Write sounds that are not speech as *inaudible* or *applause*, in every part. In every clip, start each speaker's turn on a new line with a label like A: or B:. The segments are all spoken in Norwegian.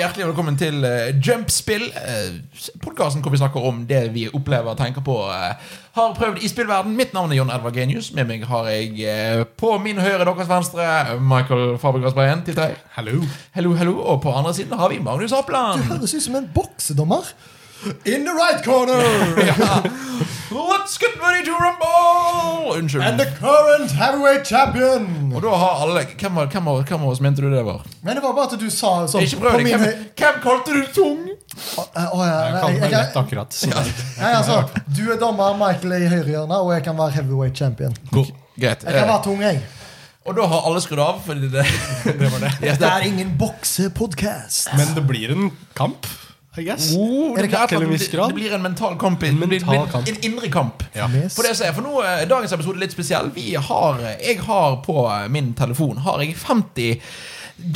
A: Hjertelig velkommen til eh, Jumpspill, uh, podkasten hvor vi snakker om det vi opplever og tenker på. eh, har prøvd i spillverden. Mitt navn er Jon Edvard Genius. Med meg har jeg eh, på min høyre, deres venstre, Michael Fabergas Breien. Titt deg.
B: Hallo.
A: Hello, hello. Og på andre siden har vi Magnus
C: Du
A: Apland.
C: høres ut som en boksedommer. In the right corner!
A: Ja. Let's get ready to rumble!
C: And
A: Unnskyld.
C: the current heavyweight champion!
A: Og da har alle Hvem av hvem av- hvem av oss mente du det var?
C: Men det var bare at du sa sånn
A: Ikke prøv
C: på
A: deg.
C: min-
A: Hvem, hvem kalte du tung?
C: Å, å, ja,
B: Jeg
C: jeg-
B: kaller
C: jeg-
B: meg
C: jeg-
B: lett akkurat. Så det
C: Nei, altså, Du er dommer, Michael er i høyrehjørnet, og jeg kan være heavyweight champion.
B: går.
A: Greit.
C: Jeg
A: eh,
C: kan være tung, jeg.
A: Og da har alle skrudd av. Fordi det, det *laughs* var det. Ja,
C: Det er ingen boksepodkast.
B: Men det blir en kamp, I guess.
A: Oh, det,
C: Er det
A: blir et
C: klart
A: eller
B: til en
A: annet-
B: viss
A: det-
B: grad?
A: det blir en mental kamp. En,
B: Mental
A: en,
B: kamp.
A: en indre kamp.
B: Ja.
C: Yes.
A: For det som er, for nå er dagens episode litt spesiell. Vi har, eh, jeg har på eh, min telefon har jeg 50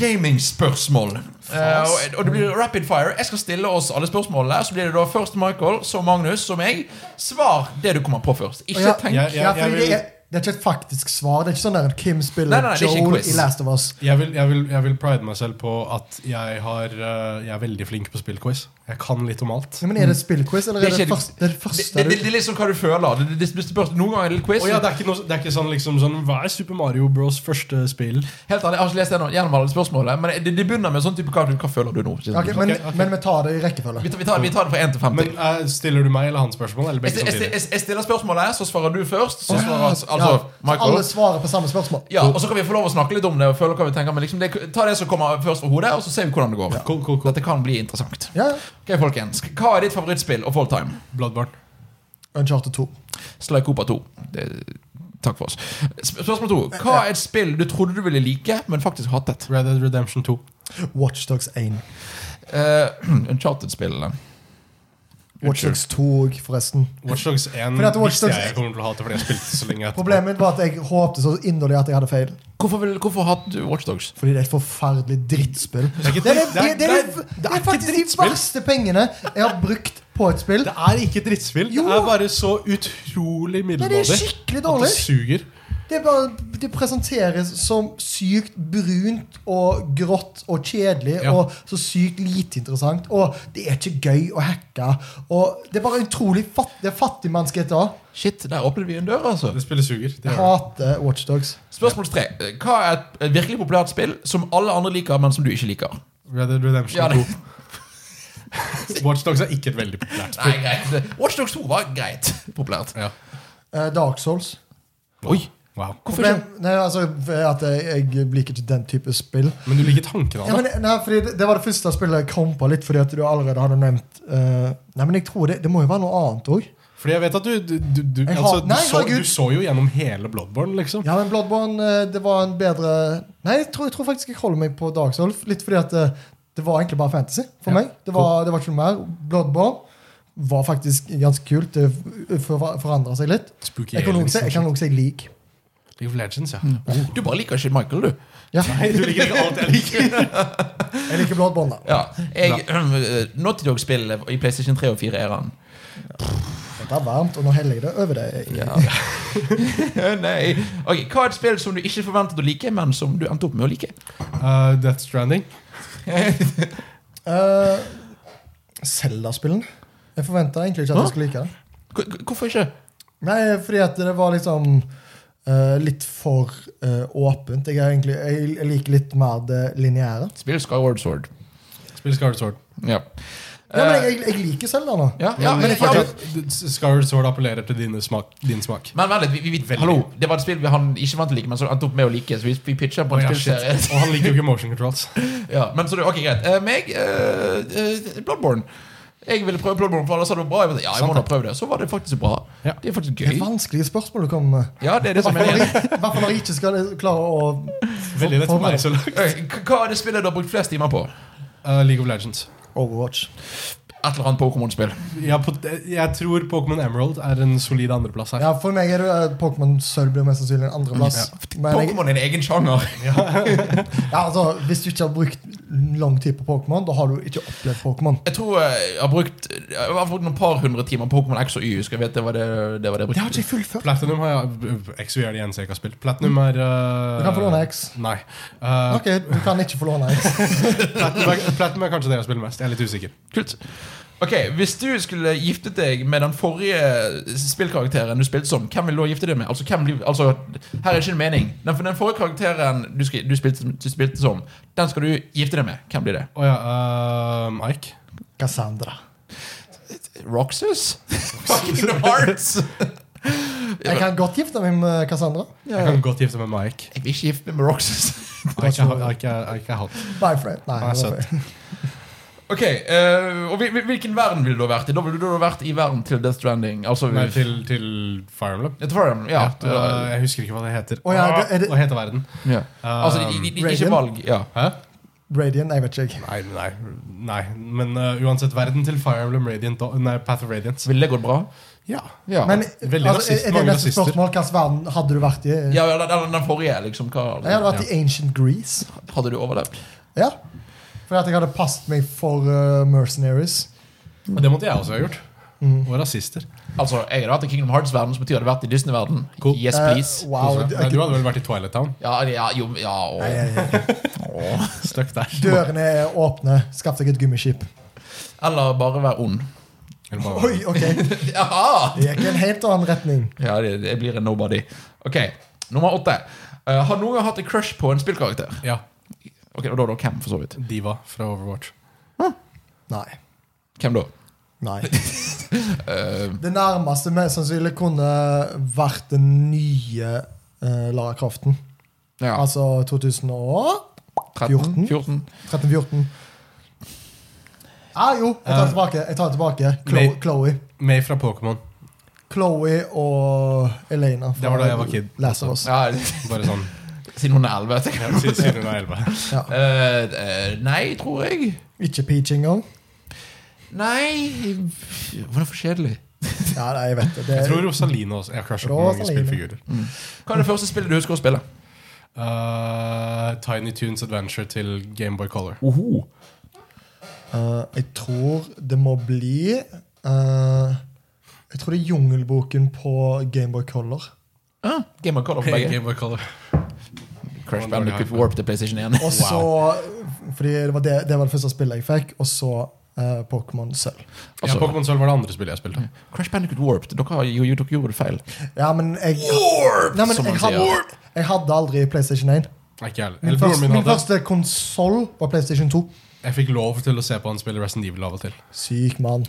A: gamingspørsmål. Eh, og, og det blir rapid fire. Jeg skal stille oss alle spørsmålene. Så blir det da først Michael, så Magnus, så meg. Svar det du kommer på først.
C: Og
A: Ikke
C: ja,
A: tenk
B: Jeg-
C: ja, fordi
B: jeg
C: det,
B: vil-
C: er, det er ikke et faktisk svar. Det er ikke sånn der Kim spiller
A: Nei, nei, det er ikke en
C: Joel
A: quiz.
C: i Last of Us.
B: Jeg vil, jeg, vil, jeg vil pride meg selv på at jeg, har, eh, jeg er veldig flink på spillquiz. Jeg kan litt om alt.
C: Ja, men Er det spillquiz, eller
A: Det
C: er
A: er
C: det
A: ikke-
C: først- det er det
A: det,
C: første
A: det, det,
C: du
A: det er litt sånn hva du føler. Det, det, det spørs, noen ganger er det litt quiz.
B: Og ja, det, er ikke noe, det er ikke sånn liksom sånn, Hva er Super Mario Bros. første spill?
A: Helt ærlig, Jeg har ikke lest gjennom- gjennom alle spørsmålene, men det, det begynner med sånn type hva, hva føler du nå. Ikke sant?
C: Ok, men,
B: Ok, ok.
C: men vi tar det i rekkefølge.
A: Vi, tar, vi, tar, vi tar det fra 1 til 50.
B: Men eh, Stiller du meg eller han spørsmål?
A: Jeg,
B: Eller begge
A: jeg,
B: samtidig?
A: jeg, jeg stiller spørsmålet, så svarer du først. Så svarer altså
C: Ja, så alle
A: Michael.
C: svarer på samme spørsmål.
A: Ja, og så kan vi få lov å snakke litt om det og føle hva vi tenker. Men liksom det, ta det som kommer først fra hodet, og så ser vi hvordan det går.
B: Cool, cool, cool.
A: Dette kan bli interessant.
C: Ja,
A: Ok, folkens. Hva er ditt favorittspill of all time?
B: Bloodborne.
C: Uncharted 2.
A: Sly Cooper 2. Det, takk for oss. Sp- Spørsmål to. Hva er et spill du trodde du ville like, men faktisk hatet?
B: Red Dead Redemption 2.
C: Watchdogs 1.
A: Uh, *clears throat* Uncharted-spillene.
C: Watchdogs 2 òg, forresten.
B: Watchdogs 1
C: Fordi at Watch
B: visste
C: Dogs-
B: jeg jeg kommer til å hate fordi jeg spilte så lenge. etterpå.
C: Problemet mitt var at jeg håpte så inderlig at jeg hadde feil.
A: Hvorfor, vil- hvorfor hatet du Watchdogs?
C: Fordi det er et forferdelig drittspill. Det er,
B: ikke
C: det er,
B: dritt-
C: det er, det
B: det
C: er,
B: er- det er ikke
C: faktisk de
B: drittspill.
C: verste pengene jeg har brukt på et spill.
B: Det er ikke et drittspill.
C: Jo.
B: Det er bare så utrolig
C: Nei, det
B: middelmådig
C: er skikkelig
B: at
C: dårlig.
B: det suger.
C: Det, er bare, det presenteres som sykt brunt og grått og kjedelig
B: Ja.
C: og så sykt lite interessant. Og det er ikke gøy å hacke. Og det er bare utrolig fatt, det er fattigmannsket da.
A: Shit, der åpnet vi en dør, altså.
B: Det spillet suger. Det
C: Jeg
B: gjør det.
C: hater Watchdogs.
A: Spørsmål tre. Hva er et- et virkelig populært spill som alle andre liker, men som du ikke liker?
B: Red Dead Redemption
A: Ja, det-
B: 2. *laughs* Watch Dogs er ikke et veldig populært
A: Nei, *laughs*
B: spill.
A: greit. Watch Dogs 2 var greit populært.
B: Ja.
C: Eh, Dark Souls.
A: Oi,
B: Wow.
A: hvorfor
C: Problem,
A: ikke?
C: nei, altså, at jeg, jeg liker ikke den type spill.
B: Men du liker tanken av
C: Ja,
B: det?
C: men, nei, fordi det, det var det første spillet jeg kom på, litt fordi at du allerede hadde nevnt eh, Nei, men jeg tror det, det må jo være noe annet òg.
B: Fordi jeg vet at du Du, du, du,
C: Jeg
B: altså,
C: har- Nei,
B: du, så,
C: herregud.
B: du så jo gjennom hele Bloodborne, liksom.
C: Ja, men Bloodborne eh, det var en bedre Nei, jeg tror, jeg tror faktisk jeg holder meg på Dark Souls. Litt fordi at eh, det var egentlig bare fantasy for
B: Ja,
C: meg. Det var, det var ikke noe mer. Bloodborne var faktisk ganske kult. Det f- for- forandra seg litt.
B: Spooky
C: Jeg kan nok
B: aliens.
C: si jeg Mm. kan
B: og
C: nok si jeg liker.
B: shit. League of Legends, ja.
A: Du bare liker ikke Michael, du.
C: Ja,
B: Nei, du liker ikke alt jeg liker.
C: jeg liker Bloodborne, da.
A: Ja, jeg, øh, Naughty Dog-spill i PlayStation 3 og 4-æraen.
C: Det er varmt, og nå heller jeg det over deg.
A: *laughs* Ja. Nei. Ok, Hva er et spill som du ikke forventet å like, men som du endte opp med å like?
C: *laughs*
B: Uh, Death Stranding.
C: Uh, Zelda-spillen. Jeg forventa egentlig ikke at
A: Hå?
C: jeg skulle like det.
A: Hvor- hvor- Hvorfor ikke?
C: Nei, fordi at det var liksom eh, litt for eh, åpent. Jeg, er egentlig, jeg, jeg liker litt mer det lineære.
A: Spill Skyward Sword.
B: Spill Scarlet Sword.
A: Ja.
C: Ja, men
A: Eh,
C: jeg, jeg, jeg liker Selda nå.
A: ja, ja, men,
B: Men
A: ja, men,
B: fortsatt, Scarlet Sword appellerer til dine smak, din smak.
A: men vent litt, vi, vi, vi,
B: Veldig.
A: hallo, det var et spill vi han ikke vant å like, men som endte opp med å like. Så vi, vi pitcher på en
B: Å, ja, shit.
A: spillserie.
B: Og han liker jo ikke motion
C: *laughs*
B: controls.
A: Ja, men så du, ok, greit Eh, Meg, eh, eh, Bloodborne Jeg ville prøve Bloodborne, for alle sa det var bra Jeg vet, Ja, jeg må
B: Sant
A: da
B: det.
A: prøve det Så var det faktisk bra
B: Ja.
A: Det er faktisk
C: Det er
A: gøy
C: vanskelige spørsmål du kommer med.
A: Ja, det er det
C: I
A: som
C: hvert
A: er
C: fall
A: meningen.
C: når jeg- i hvert fall når jeg ikke skal klare å
B: Veldig lett for meg så langt.
A: Eh, k- Hva er det spillet du har brukt flest timer på?
B: Uh, League of Legends.
C: Overwatch.
A: Et eller annet Pokémon-spill
B: Ja, på, jeg tror Pokémon Emerald er en solid andreplass her.
C: Ja, For meg er det eh, Pokémon Sølv blir mest
A: Mm.
C: sannsynlig en andreplass. Men jeg,
A: Pokémon er en egen sjanger
C: ja, altså, hvis du ikke har brukt lang tid på Pokémon, da har du ikke opplevd Pokémon.
A: Jeg tror eh, jeg har brukt Jeg har brukt noen par hundre timer på Pokémon X og Y. Skal jeg vite, det var det, det var det jeg
C: Det har
A: brukte.
C: ikke jeg fullført.
B: Platinum har jeg X er det eneste jeg ikke har spilt. Platinum er eh,
C: Mm. Du kan få låne X.
B: Nei. Eh,
C: Ok, du kan ikke få låne X.
B: Platinum, er, Platinum er kanskje det jeg har spilt mest. Jeg er litt usikker.
A: Kult. Ok, Hvis du skulle giftet deg med den forrige spillkarakteren du spilte som, hvem vil du da gifte deg med? Altså, hvem blir, altså Her er ikke en mening. Den, for den forrige karakteren du, skri- du, spilte, du spilte som, den skal du gifte deg med. Hvem blir det?
B: Å ja. eh, Ike.
C: Cassandra.
A: Roxas? Fucking Hearts!
C: Jeg kan godt gifte meg med Cassandra.
B: Jeg kan godt gifte meg med Ike.
A: Jeg vil ikke gifte meg med Roxas.
B: Ike, er- Ike, er- Ike er hot.
C: Bye, friend. Nei,
B: Nei,
C: det var feil.
A: Ok, eh, og hvil- hvil- Hvilken verden ville du ha vært i? Da ville du ha vært i verden til Death Stranding. Altså,
B: Nei, til, til Fire Emblem.
A: Etter Fire Emblem, ja. Du,
B: Eh, jeg husker ikke hva det heter. Ah,
C: Å ja, det- er det-
B: Hva heter verden?
A: ja.
B: Eh,
A: Altså, i- i- i- ikke
C: Radiant?
A: valg. Ja.
B: Hæ?
C: Radiant, jeg vet ikke. jeg.
B: Nei, nei, nei. Men eh, uansett, verden til Fire Emblem Radiant og- Nei, Path of Radiance.
A: Ville det gått bra?
B: Ja.
A: Ja.
C: Men
B: Veldig
C: altså,
B: rasist,
C: er det
B: mange
C: neste
B: rasister.
C: spørsmål hvilken verden hadde du vært i? Jeg
A: ja, ja den, den- den forrige, liksom. Hva,
C: hadde vært i Ancient Greece.
A: Hadde du overlevd?
C: Ja. Fordi at jeg hadde passet meg for eh, mercenaries.
B: Og det måtte jeg også ha gjort.
C: Mm.
B: Og rasister.
A: Altså, Jeg hadde vært i Kingdom Hearts-verden, så betyr det vært i Disney-verden.
B: Cool.
A: Yes,
C: Eh,
A: please.
C: wow.
B: Nei,
C: det
B: du
C: er ikke-
B: hadde vel vært i Twilight Town?
A: Ja, ja, jo, ja og,
C: Nei, nei, nei.
B: Stuck der.
C: *laughs* Dørene er åpne. Skaff deg et gummiskip.
A: Eller bare være ond. *laughs*
B: Eller bare-
C: Oi, ok. Det
A: Jaha!
C: gikk i en helt annen retning.
A: Ja, det, det blir en nobody. Ok, Nummer åtte. Eh, har noen gang hatt en crush på en spillkarakter?
B: Ja.
A: Ok, og da, da Hvem, for så vidt?
B: Diva fra Overwatch.
C: Nei.
A: Hvem da?
C: *laughs* Nei. det nærmeste mest sannsynlig kunne vært den nye eh, Lara Kraften.
A: Ja,
C: Altså 2013-14.
A: 13? 14?
C: Ja, jo, jeg
B: Eh,
C: tar det tilbake. Jeg tar det tilbake. Chloe,
B: Nei.
C: Chloe.
B: May fra Pokémon.
C: Chloe og Elena
B: Det var da jeg var kid.
C: Last of Us.
A: Ja, *laughs*
B: Bare sånn
A: siden hun er 11. tenker jeg.
B: *laughs* ja, siden- siden hun er 11.
C: Ja.
A: Eh, eh, nei, tror jeg.
C: Ikke Peach engang.
A: Nei Hvorfor kjedelig?
C: Ja, nei, jeg vet det. det
B: Jeg tror
C: er,
B: Rosalina også. Jeg har crushet på mange
C: Rosalina.
B: spillfigurer.
A: Hva er det første spillet du husker å spille?
B: Uh, Tiny Tunes Adventure til Gameboy Color.
A: Oho.
C: eh, jeg tror det må bli eh, Jeg tror det er Jungelboken på Gameboy Color.
A: Ah, Game of Color for begge.
B: Gameboy Color.
A: Crash Bandicoot Warp til PlayStation 1.
C: Og så Fordi det var det, det var det første spillet jeg fikk, og så eh, Pokémon sølv.
B: Ja,
A: Altså-
B: Pokémon Sølv var det andre spillet jeg spilte.
A: Crash Bandicoot Warp. Dere har jo dere gjorde det feil.
C: Ja, men jeg
A: Warp,
C: Nei, men
A: som
C: jeg
A: man
C: hadde,
A: sier.
C: jeg hadde aldri PlayStation 1.
B: Nei, ikke jeg heller.
C: Min
B: Eller broren
C: første,
B: min
C: min
B: hadde.
C: første konsoll var PlayStation 2.
B: Jeg fikk lov til å se på han spille Resident Evil av og til.
C: Syk mann.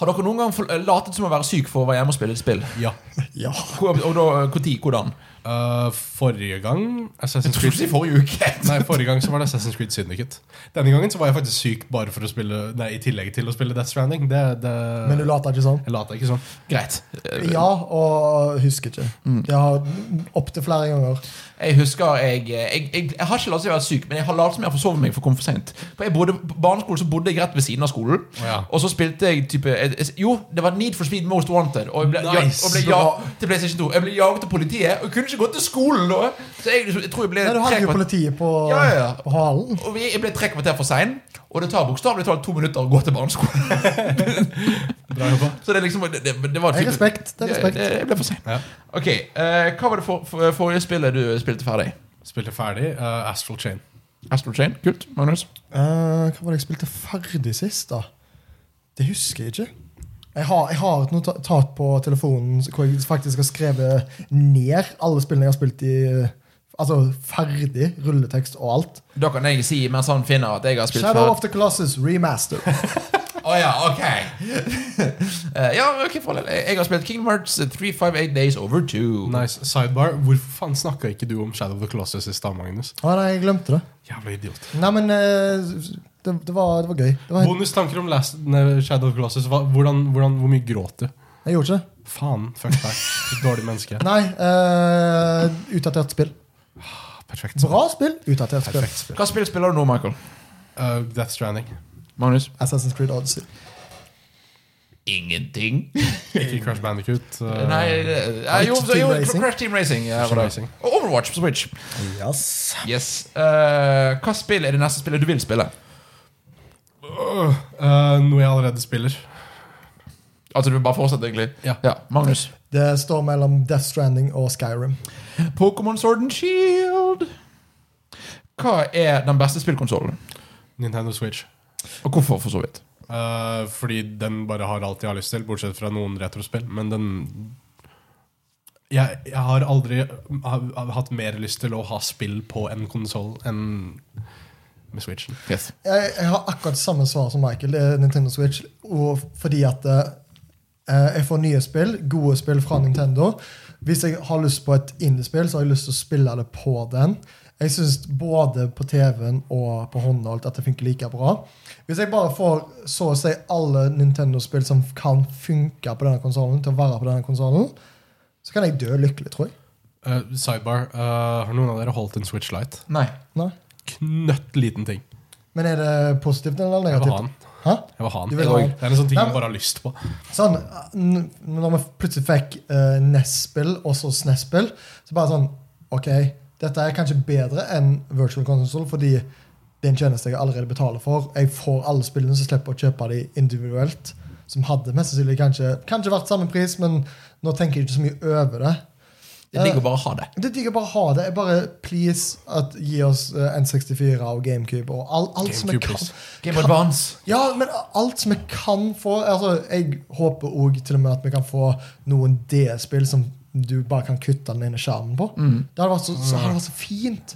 A: Har dere noen gang for- latet som å være syk for å være hjemme og spille et spill?
B: Ja.
C: Ja.
A: Hvor- Og da, hvor tid, hvordan?
B: *laughs* Uh, forrige gang Assassin's
A: Skulle
B: Creed
A: si forrige uke.
B: Nei, forrige gang så var det Assassin's Creed Syndicate. Denne gangen så var jeg faktisk syk bare for å spille Nei, i tillegg til å spille Death Stranding. Det, det,
C: Men du later ikke sånn?
B: Jeg later ikke sånn.
A: Greit. Eh,
C: Ja, og husker ikke.
A: Mm.
C: Jeg har opptil flere ganger.
A: Jeg husker jeg, jeg, jeg, jeg har ikke latt seg være syk, men jeg har latt som jeg har forsovet meg for å komme for sent. For jeg bodde, På barneskolen så bodde jeg rett ved siden av skolen.
B: Å ja.
A: Og så spilte jeg type jeg, jeg, Jo, det var Need for Speed Most Wanted. Og jeg ble, jag-
B: Nice.
A: og ble jaget til PlayStation 2. Jeg ble jaget av politiet, og jeg kunne ikke gå til skolen da. Så jeg, jeg tror jeg ble
C: Nei, du hadde
A: tre
C: jo
A: kvart-
C: politiet på,
A: Ja, ja, ja.
C: på halen.
A: og vi- jeg ble tre kvarter for sein, og det tar bokstavelig talt to minutter å gå til barneskolen. *laughs*
B: Bra jobba.
A: Så det er liksom Det, det, det var
C: Det
A: type-
C: er respekt. Det er respekt.
A: Jeg, jeg ble for sein.
B: Ja.
A: Ok, eh, Hva var det for, for, forrige spillet du spilte ferdig?
B: Spilte ferdig. eh, Astral Chain.
A: Astral Chain? Kult. Magnus?
C: Eh, hva var det jeg spilte ferdig sist, da? Det husker jeg ikke. Jeg har, jeg har et notat på telefonen hvor jeg faktisk har skrevet ned alle spillene jeg har spilt i Altså ferdig rulletekst og alt.
A: Da kan jeg si mens han finner at jeg har spilt
C: Shadow
A: før.
C: of the Colossus remaster.
A: Å ja, ok. *laughs* Eh, ja, ok, forhold. Jeg har spilt Kingdom Hearts 358 Days Over 2.
B: Nice. Sidebar. Hvorfor faen snakka ikke du om Shadow of the Colossus i stad, Magnus?
C: Å nei, jeg glemte det.
B: Jævla idiot.
C: Nei, men eh, det, det, var, det var gøy. Det var,
B: Bonustanker om last, nei, Shadow of the Colossus. Hva, hvordan, hvordan, hvor mye gråt du?
C: jeg gjorde ikke det.
B: Faen. Fuck deg. Du Dårlig menneske.
C: Nei. eh, utdatert spill.
B: Perfekt.
C: Bra spill, utdatert spill.
B: Perfekt spill.
A: Hva spill spiller du nå, Michael?
B: Eh, Death Stranding.
A: Magnus?
C: Assassin's Creed Odyssey.
A: ingenting.
B: Ikke Crash Bandicoot. eh,
A: Nei, eh, jo, så, jo
C: Team Racing.
A: Crash Team Racing. ja,
B: Crash
A: var det.
B: Racing.
A: Og Overwatch på Switch.
C: Yes.
A: Yes. Eh, hva spill er det neste spillet du vil spille?
B: øh, eh, noe jeg allerede spiller.
A: Altså, du vil bare fortsette, egentlig?
B: Ja.
A: Magnus.
C: Det står mellom Death Stranding og Skyrim.
A: Pokémon Sword and Shield. Hva er den beste spillkonsollen?
B: Nintendo Switch.
A: Og hvorfor, for så vidt?
B: Eh, fordi den bare har alt jeg har lyst til, bortsett fra noen retrospill. Men den jeg, jeg har aldri har, har hatt mer lyst til å ha spill på en konsoll enn med Switchen.
A: Yes.
C: Jeg, jeg har akkurat samme svar som Michael. Det er Nintendo Switch. Og fordi at eh, jeg får nye spill, gode spill fra Nintendo. Hvis jeg har lyst på et indiespill, så har jeg lyst til å spille det på den. Jeg syns både på TV-en og på hånda alt at det funker like bra. Hvis jeg bare får så å si alle Nintendo-spill som kan funke på denne konsollen, til å være på denne konsollen, så kan jeg dø lykkelig, tror jeg.
B: Eh, sidebar. eh, har noen av dere holdt en Switch Lite?
A: Nei.
C: Nei.
B: Knøtt liten ting.
C: Men er det positivt eller
B: Jeg vil ha
C: negativt?
B: den.
C: Hæ?
B: Jeg vil ha
C: Du
B: den.
C: vil ha den.
B: Det er en sånn ting
C: Nei,
B: jeg
C: men-
B: bare har lyst på.
C: Sånn, n- når vi plutselig fikk uh, NES-spill og så SNES-spill, så bare sånn Ok, dette er kanskje bedre enn Virtual Console, fordi det er en tjeneste jeg allerede betaler for. Jeg får alle spillene, så slipper jeg å kjøpe de individuelt. Som hadde mest sannsynlig kanskje, kanskje vært samme pris, men nå tenker jeg ikke så mye over det.
A: Det er digg å bare ha det.
C: Det er digg å bare ha det. Jeg bare please at gi oss eh, N64 og GameCube og all, alt som jeg
B: GameCube,
C: kan.
B: please.
A: Game Advance.
C: Ja, men alt som vi kan få altså, Jeg håper òg til og med at vi kan få noen D-spill som du bare kan kutte den ene skjermen på. Det hadde vært så, så, hadde vært så fint.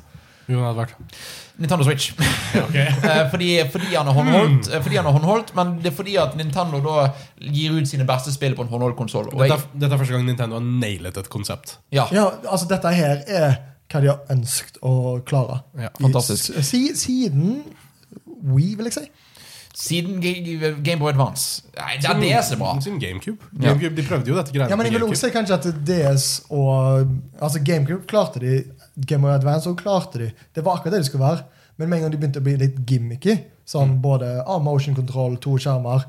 B: Jo, det hadde vært.
A: Nintendo *laughs* Switch. Eh, fordi, fordi, han er håndholdt, eh, fordi han er håndholdt, men det er fordi at Nintendo da gir ut sine beste spill på en håndholdt konsoll. Og
B: Dette,
A: jeg,
B: er, dette er første gang Nintendo har nailet et konsept.
A: ja,
C: Ja, altså Dette her er hva de har ønsket å klare.
B: Ja,
C: I
A: fantastisk.
C: s- Si, siden We, vil jeg si.
A: siden Gameboy Advance. Nei, det er det som er bra.
B: Siden GameCube.
A: Ja.
B: GameCube, De prøvde jo dette greiene
C: Ja, men
B: på
C: jeg vil
B: GameCube.
C: også si kanskje at DS og Altså GameCube klarte de. Game Boy Advance også klarte de. Det var akkurat det de skulle være. Men med en gang de begynte å bli litt gimmicky,
B: Mm.
C: sånn både ah, motion control, to skjermer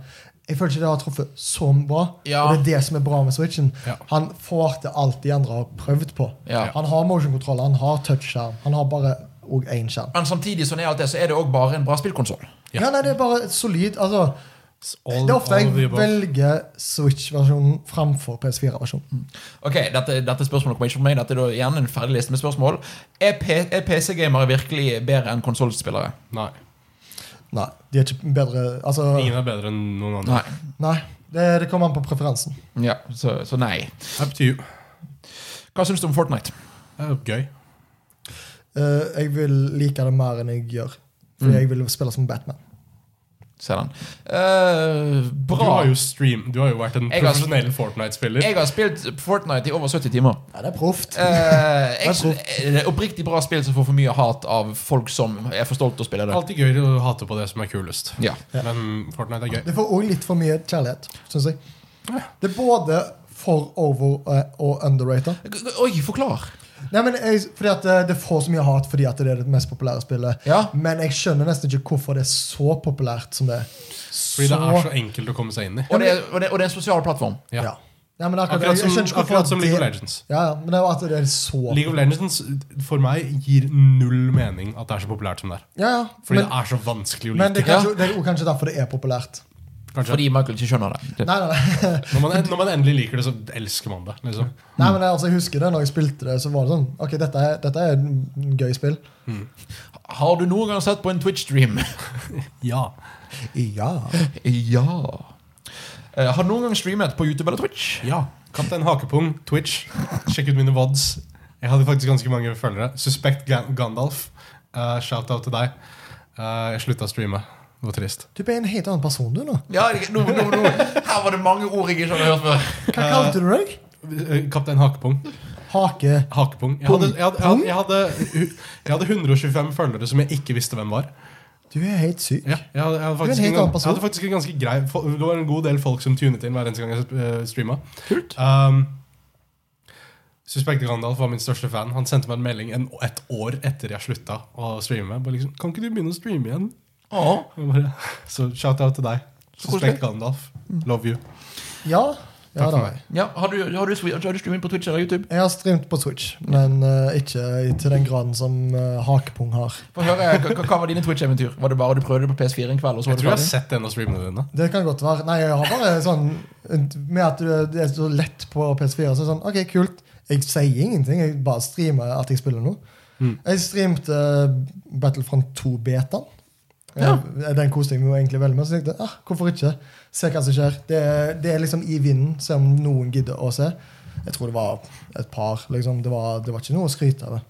C: Jeg føler ikke det har truffet så bra.
A: Ja.
C: Og det er det som er bra med Switchen.
B: Ja.
C: Han får til alt de andre har prøvd på.
A: Ja.
C: Han har motion control, han har touchskjerm, han har bare og én skjerm.
A: Men samtidig sånn er alt det, så er det òg bare en bra spillkonsoll.
B: Ja.
C: Ja. nei, det er bare solid. Altså,
B: It's all-
C: det er ofte
B: all of the
C: jeg
B: above.
C: velger Switch-versjonen framfor
B: Mm.
C: PS4-versjonen.
A: Ok, dette, dette spørsmålet kommer ikke fra meg. Dette er da gjerne en ferdig liste med spørsmål. Er, P- er PC-gamere virkelig bedre enn konsollspillere?
B: Nei.
C: Nei, de er ikke bedre altså,
B: Ingen er bedre enn noen andre.
A: Nei.
C: Nei, det, det kommer an på preferansen.
A: Ja, så, så nei.
B: Up to you.
A: Hva syns du om Fortnite?
B: Det er jo gøy.
C: Eh, jeg vil like det mer enn jeg gjør. Fordi
B: Mm.
C: jeg vil spille som Batman.
A: Ser den. Eh,
B: Du
A: bra.
B: har jo stream Du har jo vært en
A: Jeg har-
B: profesjonell Fortnite-spiller.
A: Jeg har spilt Fortnite i over 70 timer.
C: Ja, det er proft.
A: Eh,
C: er
A: jeg,
C: proft.
A: det er oppriktig bra spill som får for mye hat av folk som er for stolt til å spille det.
B: Alltid gøy å hate på det som er kulest.
A: Ja.
B: Men Fortnite er gøy.
C: Det får òg litt for mye kjærlighet, syns jeg. Det er både for over eh, og underrated.
A: Oi, forklar!
C: Nei, men jeg, fordi at eh, det, det får så mye hat fordi at det er det mest populære spillet.
A: Ja.
C: Men jeg skjønner nesten ikke hvorfor det er så populært som det er.
B: Fordi det er så enkelt å komme seg inn i.
A: Og det, er- og det, og det er en sosial plattform.
B: Ja.
C: Ja. Nei, men akkurat, jeg,
B: Akkurat som,
C: jeg skjønner ikke hvorfor
B: akkurat som
C: det-
B: League of Legends.
C: Ja, ja, men det er jo at det er så
B: League of Legends for meg gir null mening at det er så populært som det er.
C: Ja, ja.
B: Fordi
C: Men,
B: det er så vanskelig å
C: men det,
B: like.
C: er kanskje, det er jo kanskje derfor det er populært.
B: Kanskje.
A: Fordi Michael ikke skjønner det. det.
C: Nei, nei, nei.
B: Når, man, når man endelig liker det, så elsker man det. Liksom.
C: Nei, men altså, jeg husker det når jeg spilte det, så var det sånn Ok, dette er, dette er en gøy spill.
A: Har du noen gang sett på en Twitch-stream?
B: Ja.
C: Ja.
A: ja. Eh, har du noen gang streamet på YouTube eller Twitch?
B: ja. Kaptein Hakepung, Twitch. Sjekk ut mine vods. Jeg hadde faktisk ganske mange følgere. Suspekt Ga- Gandalf. Eh, Shout-out til deg. Eh, jeg slutta å streame. Det var trist.
C: Du er en helt annen person, du, nå.
A: Ja, jeg- nå, nå, nå. Her var det mange ord jeg ikke hadde hørt før.
C: Hva kalte du deg?
B: Eh, Kaptein Hakepung.
C: Hake.
B: Hakepung. Jeg hadde, jeg, hadde, jeg, hadde, jeg, hadde, jeg hadde 125 følgere som jeg ikke visste hvem var.
C: Du er helt syk.
B: Ja, jeg hadde,
C: Du
B: jeg hadde,
C: er en
B: faktisk,
C: helt
B: en, gang-
C: annen
B: jeg
C: person.
B: hadde faktisk en ganske grei fo- Det var en god del folk som tunet inn hver eneste gang jeg eh, streama.
A: Kult.
B: Um, Suspekt Randalf var min største fan. Han sendte meg en melding en, et år etter jeg slutta å streame. Bare *laughs* liksom, kan ikke du begynne å streame igjen?
A: Å,
B: Jeg Bare, så shout out til deg.
A: Så koselig.
B: Suspekt Gandalf. Love you.
C: Ja, ja
B: Takk for
C: da.
B: meg.
A: Ja, har du, har, du, har du streaming på Twitch eller YouTube?
C: Jeg har streamt på Twitch, men eh, ikke til den graden som eh, Hakepung har.
A: Få høre, hva, hva var dine Twitch-eventyr? Var det bare du prøvde det på PS4 en kveld, og så var
B: Jeg
A: du
B: tror jeg har
A: ferdig?
B: sett en av streamene dine.
C: Det kan godt være. Nei, jeg har bare sånn Med at du- det er så lett på PS4, så er det sånn OK, kult. Jeg sier ingenting. Jeg bare streamer at jeg spiller noe.
B: Mm.
C: Jeg streamte Battlefront 2-betaen.
A: Ja.
C: Den koste jeg meg jo egentlig veldig med. Så tenkte jeg ah, hvorfor ikke? Se hva som skjer. Det, det er liksom i vinden, se om noen gidder å se. Jeg tror det var et par. liksom. Det var, det var ikke noe å skryte av.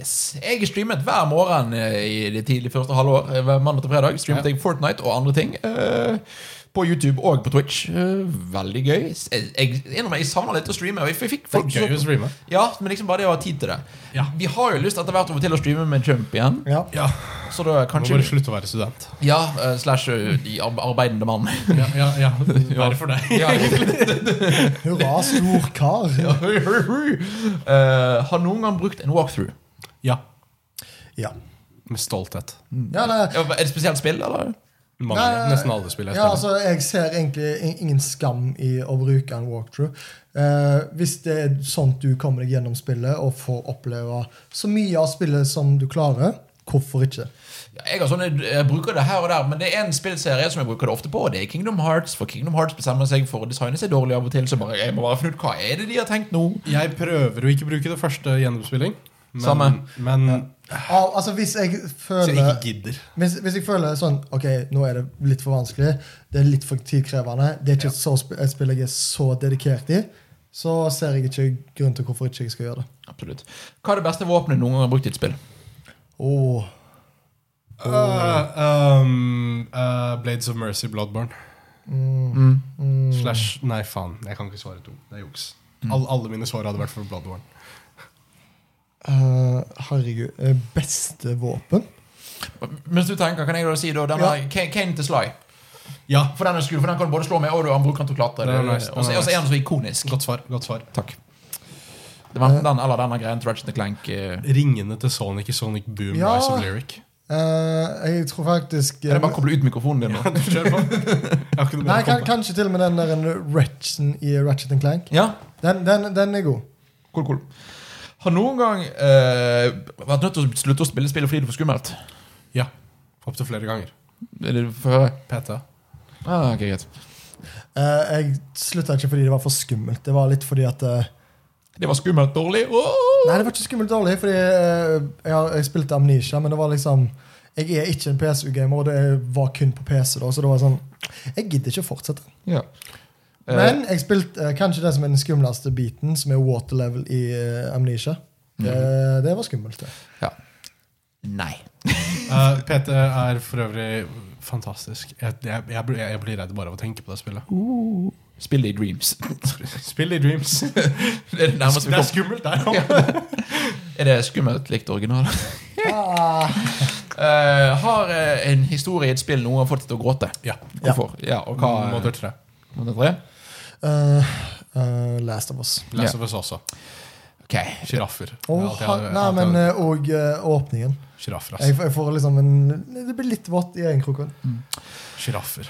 A: Yes. Jeg streamet hver morgen eh, i det tidlige første halvår. eh, Hver mandag til fredag streamet
B: Ja.
A: jeg Fortnite og andre ting. eh, på YouTube og på Twitch. Eh, veldig gøy. S- Jeg, jeg, innrømmer, jeg savner litt å streame. og Jeg fikk
B: Det
A: folk
B: er gøy å streame.
A: Ja, Men liksom bare det å ha tid til det.
B: Ja.
A: Vi har jo lyst etter hvert over til å streame med Jump igjen.
C: Ja.
B: Ja,
A: Så da
B: Må
A: kanskje
B: bare slutte å være student.
A: Ja, eh, slash eh, de ar- arbeidende mann. *laughs*
B: Ja, ja,
C: *laughs*
B: ja. Bare for deg. *laughs*
A: ja.
C: Hurra, stor kar.
A: Ja. Eh, har noen gang brukt en walkthrough?
B: Ja.
C: Ja.
B: Med stolthet.
C: ja nei,
A: Ja, Er det et spesielt spill, eller?
B: Mange,
C: Nei,
B: nesten alle spill jeg
C: Ja,
B: spiller.
C: altså, jeg ser egentlig in- ingen skam i å bruke en walkthrough. Eh, hvis det er sånt du kommer deg gjennom spillet og får oppleve så mye av spillet som du klarer, hvorfor ikke?
A: Ja, Jeg, har sånne, jeg bruker det her og der, men det er en spillserie som jeg bruker det ofte på. og Det er Kingdom Hearts, for Kingdom Hearts bestemmer seg for å designe seg dårlig av og til. Så bare, jeg må bare finne ut hva er det de har tenkt nå.
B: Jeg prøver å ikke bruke det første gjennomspilling, men,
A: Samme.
B: men
C: Al altså, hvis jeg
B: så jeg ikke
C: føler
B: gidder.
C: hvis, hvis jeg føler sånn Ok, nå er det litt for vanskelig, det er litt for tidkrevende, det er ikke så sp et spill jeg er så dedikert i, så ser jeg ikke grunn til hvorfor ikke jeg skal gjøre det.
A: Absolutt. Hva er det beste våpenet noen gang har brukt i et spill?
C: Åh,
B: Uh, um, uh, Blades of Mercy, Bloodborne.
C: Mm.
B: Slash Nei, faen. Jeg kan ikke svare to. Det er juks. All, alle mine svar hadde vært for Bloodborne.
C: eh, herregud. eh, Beste våpen?
A: Mens du tenker, kan jeg da si da, den
C: Ja.
A: her, Kane Kane til Sly.
B: Ja.
A: For den er skul, for den kan du både slå med, og du han bruker den til å klatre.
B: Den er nice, den
A: Og så
B: er
A: og så er
B: nice.
A: den så ikonisk.
B: Godt svar. godt svar
A: Takk. Det var enten den eller denne greien til Ratchet Clank. eh.
B: Ringene til Sonic i Sonic Boom
C: Ja.
B: Rise of Lyric.
C: Eh, jeg tror faktisk eh,
A: Kan jeg bare koble ut mikrofonen din nå?
B: Kjør på. Jeg har ikke noe
C: Nei,
B: mer å
C: kan,
B: komme på.
C: kanskje til og med den der en Ratchen i Ratchet and Clank.
A: Ja,
C: Den, den, den er god.
A: cool, cool. Har noen gang eh, vært nødt til å slutte å spille spillet fordi det er for skummelt?
B: Ja. Opptil flere ganger.
A: Eller få høre.
B: PT.
A: Ah, ok, greit.
C: Eh, jeg slutta ikke fordi det var for skummelt. Det var litt fordi at eh,
A: Det var skummelt dårlig. Åh!
C: Nei, det var ikke skummelt dårlig, fordi eh, jeg, har- jeg spilte Amnesia, men det var liksom Jeg er ikke en PSU-gamer, og det var kun på PC, da, så det var sånn Jeg gidder ikke å fortsette.
A: Ja. Eh,
C: Men jeg spilte eh, kanskje det som er den skumleste biten, som er water level i eh, Amnesia.
A: Mm.
C: Det, det var
A: *laughs*
C: skummelt. det.
A: ja. Nei.
B: Eh, PT er for øvrig fantastisk. Jeg, jeg, jeg, blir- jeg blir redd bare av å tenke på det spillet.
A: Spill i Dreams. *laughs*
B: Spill i Dreams. Det
A: det er det nærmeste vi
B: er
A: kommer.
B: skummelt der òg.
A: Er det skummelt likt original?
C: Ah.
A: Eh, har eh, en historie i et spill noen har fått deg til å gråte?
B: Ja.
A: Hvorfor? Ja, og hva
B: Mother 3.
A: Mother 3?
C: Eh, eh, Last of Us.
B: Last
A: Ja.
B: of Us også.
A: Ok.
B: Sjiraffer.
C: Og,
B: Jeg har
C: han,
B: alltid-
C: nei,
B: alltid-
C: men eh, og eh, åpningen.
B: Sjiraffer,
C: Jeg,
B: ass.
C: jeg får liksom en Det blir litt vått i øyekroken.
B: Sjiraffer.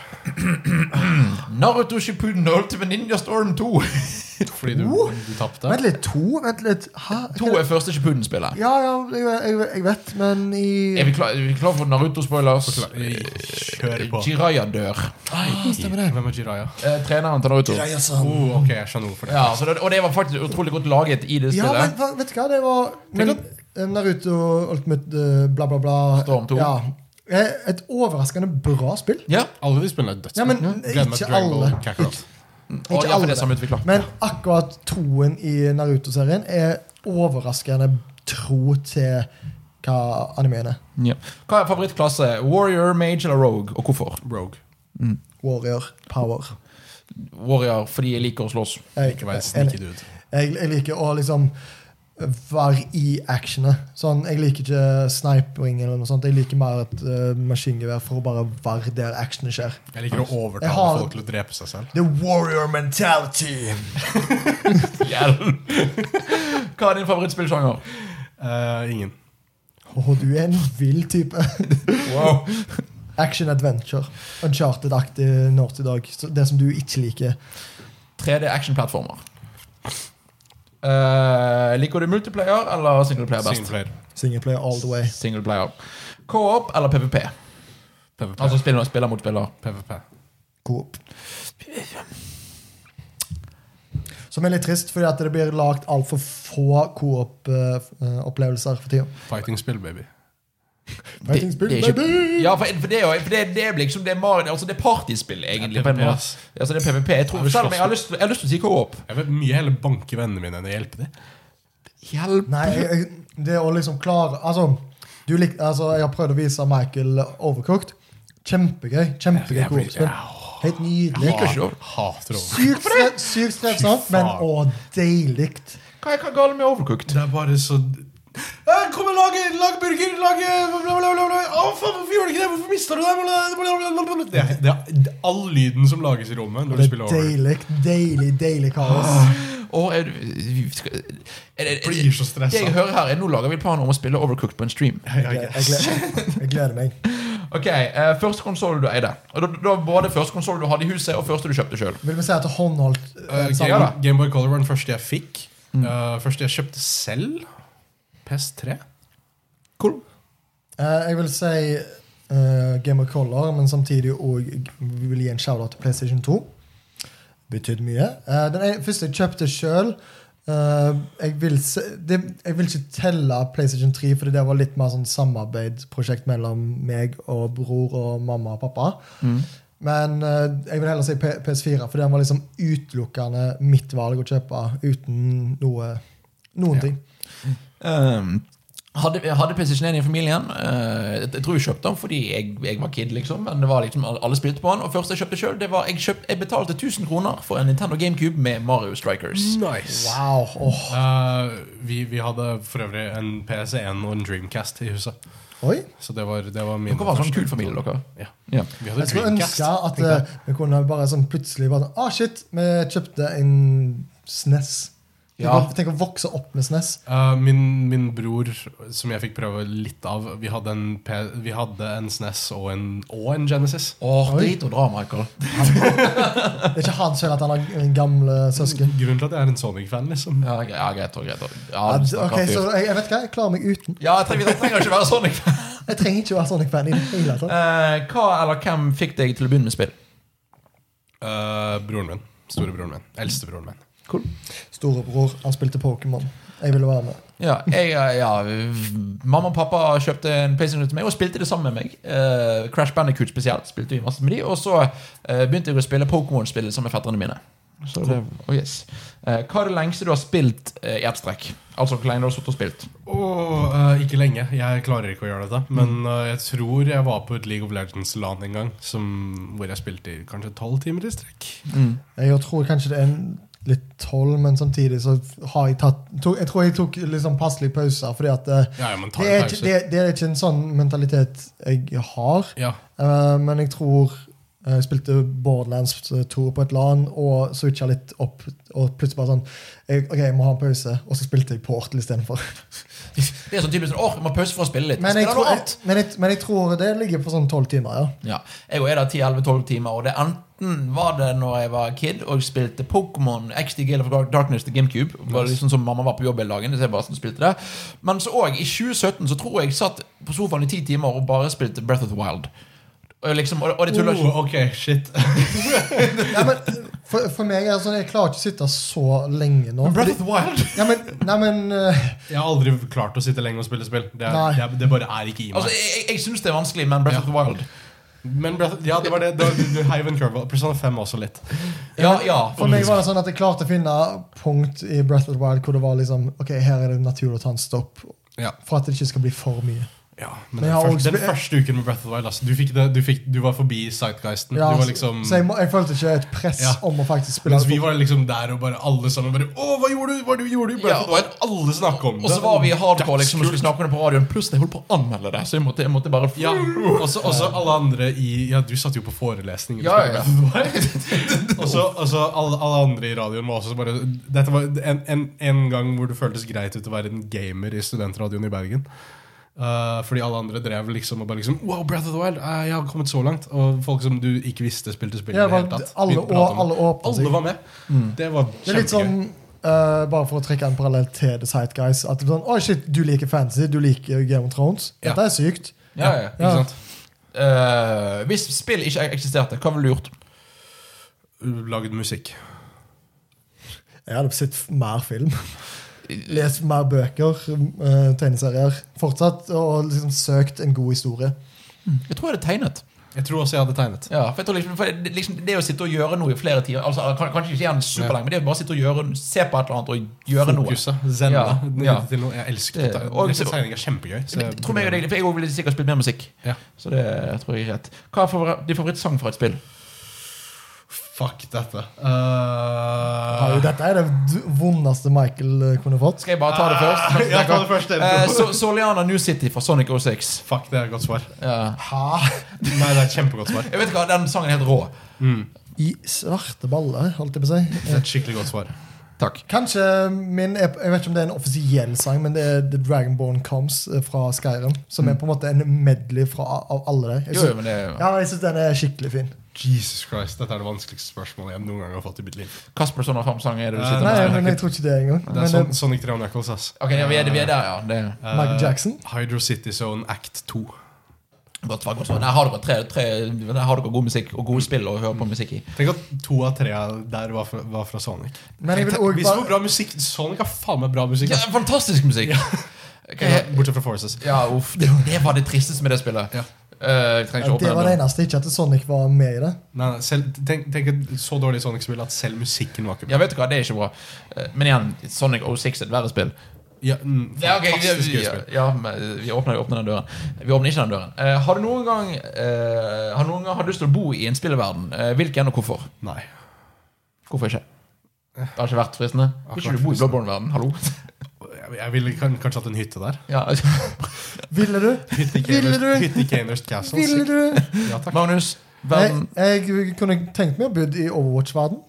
A: Naruto Shippuden Ultimate Ninja Storm 2.
B: *laughs* Fordi du,
C: Oh!
B: du tapte.
C: Vent litt, to? Vent litt. Hæ?
A: to eh. er første Shippuden-spillet.
C: Ja, ja, jeg, jeg, jeg vet, men i
A: Er vi klar, er vi klar for Naruto-spoilers?
B: Kjør på.
A: Jiraya dør.
C: ah, Stemmer det.
B: Hvem er Jiraya?
A: Eh, treneren til Naruto.
C: Greiersen.
B: Oh, ok, jeg skjønner hvorfor det.
A: Ja, så det, og det var faktisk utrolig godt laget i det
C: Ja,
A: spillet.
C: men hva- vet du hva, det var men, eh, Naruto Ultimate eh, bla, bla, bla.
A: Storm 2.
C: Ja. Eh, Et overraskende bra spill.
A: ja.
B: Alle de spillene er dødsbra.
C: Ja, men
B: Gleder meg
C: ikke
B: til Dragon Ball
C: alle.
B: Kakarot.
A: Og
C: Ikke
A: ja, for
C: alle
A: det er
C: det.
A: samme utvikler.
C: Men akkurat toen i Naruto-serien er overraskende tro til hva animeen er.
A: Ja. Hva er favorittklasse? Warrior, Mage eller Rogue? Og hvorfor?
B: Rogue.
C: Warrior power.
A: Warrior fordi jeg liker å slåss.
C: Jeg,
B: Ikke vær en
C: jeg,
B: sneaky dude.
C: jeg, jeg liker å liksom være i actionet. Sånn, jeg liker ikke snipering eller noe sånt. Jeg liker mer et eh, maskingevær for å bare være der actionet skjer.
B: Jeg liker å overtale
C: Jeg har-
B: folk til å drepe seg selv.
C: The warrior mentality.
A: Hjelp! Hva er din favorittspillsjanger?
B: Eh, ingen.
C: Å, du er en vill type.
A: Wow.
C: *laughs* Action adventure. Uncharted-aktig Naughty Dog. Så Det som du ikke liker.
A: 3D actionplattformer. Eh, liker du multiplayer eller singleplayer best?
B: Singleplayer.
C: Singleplayer all the way.
A: Singleplayer. Co-op eller PVP?
B: PVP.
A: Altså spiller, spiller mot spiller.
B: PVP.
C: Coop. Som er litt trist, fordi at det blir lagd altfor få eh, coop-opplevelser for tida.
B: Fighting-spill, baby.
A: Det, det er ikke,
C: Baby!
A: ja, for, for det er jo for det, det er liksom det er Mario, altså det er partyspill, egentlig.
B: Det er
A: på en
B: PvP,
A: måte.
B: ass.
A: Altså det er PVP. Jeg tror,
B: Ja, vi
A: selv om jeg
B: slåss
A: har lyst, jeg har lyst til å si co-op.
B: Jeg vil mye heller banke vennene mine enn å hjelpe dem.
A: Hjelp!
C: Nei, jeg- jeg- det å liksom klare Altså, du lik, altså jeg har prøvd å vise Michael Overcooked. Kjempegøy. Kjempegøy
B: Jeg blir-
C: coop-spill. Helt
A: Liker
C: nydelig.
A: ikke det.
B: Hater over.
C: Sykt stre- Sykt strevsomt, men å, deilig.
A: Hva er hva er galt med overcooked?
B: Det er bare så Eh, Kom og lag, lag burger! Lag eh, bla, bla, bla, bla, bla. Å, faen, Hvorfor gjorde du ikke det? Hvorfor mista du det? Bla, bla, bla, bla, bla. Det, er- det, er- det er all lyden som lages i rommet når du
C: Det er
B: spiller over.
C: deilig, deilig, deilig
A: Ah,
C: kaos.
A: Og er, du- vi skal- er, det- er,
B: Blir
A: det
B: så
A: jeg
B: stressa.
A: hører her, er nå lager vi planer om å spille overcooked på en stream.
C: Jeg, jeg, gleder, jeg gleder meg.
A: Ok, eh, Første konsoll du eide. Og da, da Både første konsoll du hadde i huset, og første du kjøpte sjøl.
C: Vil vi si at det er Mm. håndholdt eh,
A: ok.
C: sammen?
A: Ja da.
B: Gameboy Color var den første jeg fikk. Eh, første jeg kjøpte selv. PS3.
A: Cool.
C: Eh, jeg vil si eh, Game of Color, men samtidig òg Vi vil gi en shout-out til PlayStation 2. Betydde mye. Eh, den ene- første jeg kjøpte sjøl jeg, vil se, det, jeg vil ikke telle PlayStation 3, Fordi det var litt mer sånn samarbeidsprosjekt mellom meg og bror og mamma og pappa. Men eh, jeg vil heller si P PS4, for den var liksom utelukkende mitt valg å kjøpe uten noe, noen
B: Ja.
C: ting. Ehm,
A: Um, hadde, hadde PlayStation 1 i familien. eh, jeg tror vi kjøpte den fordi jeg, jeg var kid, liksom. Men det var liksom alle- alle spilte på den. Og først jeg kjøpte sjøl, det var jeg, kjøpt, jeg betalte 1000 kroner for en Nintendo GameCube med Mario Strikers.
C: Mm.
B: Nice.
C: Wow! åh.
B: Eh, vi, vi hadde for øvrig en PS1 og en Dreamcast i huset.
C: Oi!
B: Så det var, det var min
A: Dere var en sånn
B: første
A: kul familie, dere.
B: Ja.
A: Ja.
B: Vi hadde
C: Jeg skulle
B: Dreamcast.
C: ønske at
B: tenkte jeg.
C: eh, vi kunne bare sånn plutselig bare sånn, Ah, shit, vi kjøpte en SNES. Tenk,
A: Ja.
C: å, tenk å vokse opp med E SNES.
B: Eh, min, min bror, som jeg fikk prøve litt av Vi hadde en, P vi hadde en SNES og en, og en Genesis.
A: Åh,
C: Oi.
A: Drit og dra, Michael.
C: Det er ikke hans feil at han har en gamle søsken.
B: Grunnen til at jeg er en Sonic-fan, liksom.
A: Ja, gre- ja greit. og greit og.
C: Ja,
A: Ja,
C: d-
A: stakkars
C: ok,
A: fyr.
C: så jeg, jeg vet hva, jeg klarer meg uten.
A: ja, jeg trenger, vi trenger ikke være sånn.
C: *laughs*
A: ikke?
C: Jeg trenger ikke å være Sonic-fan i det hele tatt.
A: Eh, hva eller hvem fikk deg til å begynne med spill?
B: Eh, broren min. Storebroren min. Eldstebroren min.
A: Cool.
C: Storebror, han spilte Pokémon. Jeg ville være med.
A: Ja, jeg, ja, Mamma og pappa kjøpte en PlayStation til meg og spilte det sammen med meg. Eh, Crash Bandicoot spesielt spilte vi masse med de Og så eh, begynte jeg å spille Pokémon-spillet sammen med fetterne mine. Så det, oh yes. Eh, hva er det lengste du har spilt eh, i ett strekk? Altså hvor lenge du har sittet og spilt?
B: Og eh, ikke lenge. Jeg klarer ikke å gjøre dette.
C: Mm.
B: Men eh, jeg tror jeg var på et League of Legends-LAN en gang som, hvor jeg spilte i kanskje tolv timer i strekk.
C: Jeg tror kanskje det er en litt tolv, men samtidig så har jeg tatt to, Jeg tror jeg tok liksom passelig pauser, fordi at eh,
B: Ja, ja, men ta
C: det, er
B: en
C: ikke,
B: pause.
C: det, det er ikke en sånn mentalitet jeg har.
B: Ja. *laughs*
C: Eh, men jeg tror eh, jeg spilte Borderlands 2 på et LAN og switcha litt opp. Og plutselig bare sånn jeg, OK, jeg må ha en pause. Og så spilte jeg Portal
B: *laughs*
C: istedenfor.
A: Det er sånn typisk sånn, åh, jeg må pause for å spille litt.
C: Men, jeg
A: Spiller
C: tror-
A: noe annet.
C: men, jeg- men jeg tror det ligger på sånn tolv timer, ja.
A: Ja, Jeg og er der 10-11-12 timer, og det enten var det når jeg var kid og spilte Pokémon XD Gale of Dark- Darkness til GameCube. Det var liksom som Mamma var på jobb hele dagen. Så jeg bare spilte det Men så òg, i 2017 så tror jeg jeg satt på sofaen i ti timer og bare spilte Breath of the Wild. Og, liksom, og, og det tuller ikke.
B: Oh, ok, shit.
C: ja men, for, for meg er det sånn Jeg klarer ikke å sitte så lenge nå.
A: Breath
C: Fordi,
A: of the Wild
C: ja, men, nei, men eh,
B: Jeg har aldri klart å sitte lenge og spille spill. Det,
C: Nei.
B: er, det, er, det bare er ikke i meg.
A: Altså, Jeg, jeg, jeg syns det er vanskelig, men Breath of the Wild
B: Men Breath- ja, det var det. det var, du, du heiv en curveball. Persona 5 også litt.
A: Ja, ja.
C: For meg var det sånn at jeg klarte å finne punkt i Breath of the Wild hvor det var liksom Ok, her er det naturlig å ta en stopp.
B: Ja.
C: For at det ikke skal bli for mye.
B: men
C: Men jeg
B: den,
C: har
B: første,
C: også-
B: den første uken med Breath of the Wild altså, du, fikk det, du, fikk, du var forbi Sightguisten.
C: Ja,
B: du var liksom,
C: så jeg, må, jeg følte ikke et press
B: Ja.
C: om å faktisk spille.
B: mens vi var liksom der og bare alle sammen bare Å, hva gjorde du? Hva du gjorde du? i
A: Ja,
B: Breath of the Wild? Alle snakka om det.
A: Og så var vi hardcore liksom, og
B: Dagskult.
A: skulle snakke om det på radioen. Pluss jeg holdt på å anmelde det, så jeg måtte, jeg måtte bare
B: Ja, også, også alle andre i Ja, du satt jo på forelesning.
A: Ja,
B: *laughs*
A: ja, ja.
B: Og så og så alle, alle andre i radioen var også bare Dette var en, en, en gang hvor det føltes greit ut å være en gamer i studentradioen i Bergen. Eh, fordi alle andre drev liksom og bare liksom Wow, Breath of the Wild! eh, jeg har kommet så langt. Og folk som du ikke visste spilte spillet. i
C: Ja,
B: det hele
C: bare-
B: tatt,
C: alle,
B: begynte å prate
C: å-
B: om
C: alle
B: det.
C: åpner seg. Mm.
B: alle var med. Det var
C: Det er litt
B: kjempegøy.
C: sånn, eh, bare for å trekke en parallell til The Side Guys At det blir sånn, Oi, shit, du liker fantasy, du liker Game of Thrones.
B: Ja.
C: Dette er sykt.
A: Ja, ja.
B: Ikke sant?
A: Eh, hvis spill ikke eksisterte, hva ville du gjort?
B: Lagd musikk.
C: Jeg hadde sett f- mer film. *laughs* Lest mer bøker, eh, tegneserier. Fortsatt og liksom søkt en god historie.
A: Jeg tror jeg hadde tegnet.
B: Jeg tror også jeg hadde tegnet.
A: Ja, for jeg tror liksom, for det- liksom, det å sitte og gjøre noe i flere timer altså, kan- Kanskje ikke gjerne superlenge, men det å bare sitte og gjøre, se på et eller annet og gjøre noe.
B: Fokuset. Zenda.
A: Ja,
B: ned
A: ja.
B: til noe. Jeg elsker
A: Det-
B: det.
A: og-
B: tegning er kjempegøy. så
A: Jeg tror meg og deg, for jeg også ville sikkert spilt mer musikk.
B: Ja.
A: Så det tror jeg er rett. Hva er favor- din favorittsang fra et spill?
B: Fuck dette.
C: Ja, jo,
B: Uh,
C: dette er det d- vondeste Michael eh, kunne fått.
A: Skal jeg bare ta det først?
B: ja, ta det først.
A: Eh, so Soliana New City fra Sonic 06.
B: Fuck, det er et godt svar.
A: Ja.
C: Hæ?
B: Nei, det er et kjempegodt svar.
A: Jeg vet ikke hva, Den sangen er helt rå.
C: I svarte baller, holdt jeg på å si.
B: Det er et skikkelig godt svar.
A: Takk.
C: Kanskje min Jeg vet ikke om det er en offisiell sang, men det er The Dragonborn Comes eh, fra Skyrim. Som er på en måte en medley fra, av alle der. Jeg
A: Jo, jo,
C: syns-
A: men det
C: ja, jeg syns den er skikkelig fin.
B: Jesus Christ, Dette er det vanskeligste spørsmålet jeg noen gang har fått i mitt liv.
A: Kasper Sonner Farm-sang er det du sitter
C: Eh,
A: med?
C: Nei,
B: det er
C: men
B: ikke-
C: jeg tror ikke det engang.
B: Det er
C: Men
B: sånn,
C: eh,
B: Sonic 3 og Knuckles, ass.
A: Ok, ja, vi er, vi er der, ja. Det er
B: Eh,
C: Michael Jackson?
B: Hydro City Zone Act 2.
A: godt svar. godt svar. Der har dere tre, tre Der har dere god musikk og gode spill å høre på musikk i.
B: Tenk at to av tre der var fra, var fra Sonic.
C: Men jeg vil
B: Tenk-
C: også
B: Vis
C: bare-
B: hvor bra musikk Sonic har faen meg bra musikk.
A: Ja,
B: ass.
A: fantastisk musikk!
B: Ja,
A: Ok,
B: Bortsett fra Forces.
A: ja, uff. Det, det var det tristeste med det spillet.
B: Ja.
A: Eh, jeg trenger ikke
C: ja,
A: åpne
C: det var det
A: den.
C: eneste. Ikke at Sonic var med i det.
B: Nei, nei, selv, tenk, tenk et så dårlig Sonic-spill at selv musikken var ikke bra.
A: Ja, vet du hva, det er ikke bra. Eh, Men igjen, Sonic 06 er et verre spill.
B: Ja, mm,
A: Ja, ok,
B: fantastisk
A: vi,
B: gøy
A: ja,
B: spill.
A: ja, men eh, vi, åpner, vi åpner den døren. Vi åpner ikke den døren. Eh, har du noen gang eh, Har du noen gang hatt lyst til å bo i en spillverden? Eh, hvilken, og hvorfor?
B: Nei.
A: Hvorfor ikke? Det har ikke vært fristende? Vil ikke du bo i Bloodborne-verden? *laughs* Hallo?
B: Jeg, jeg ville kan, kanskje hatt en hytte der.
A: Ja. altså,
C: Ville du?
B: Hytte i
C: Ville
B: Kaners-
C: du?
B: Hytte i Kaners Castle.
C: Ville
B: sikkert.
C: du?
B: Ja, takk.
A: Magnus,
C: Jeg,
A: verden
C: jeg kunne tenkt meg å bo i Overwatch-verden.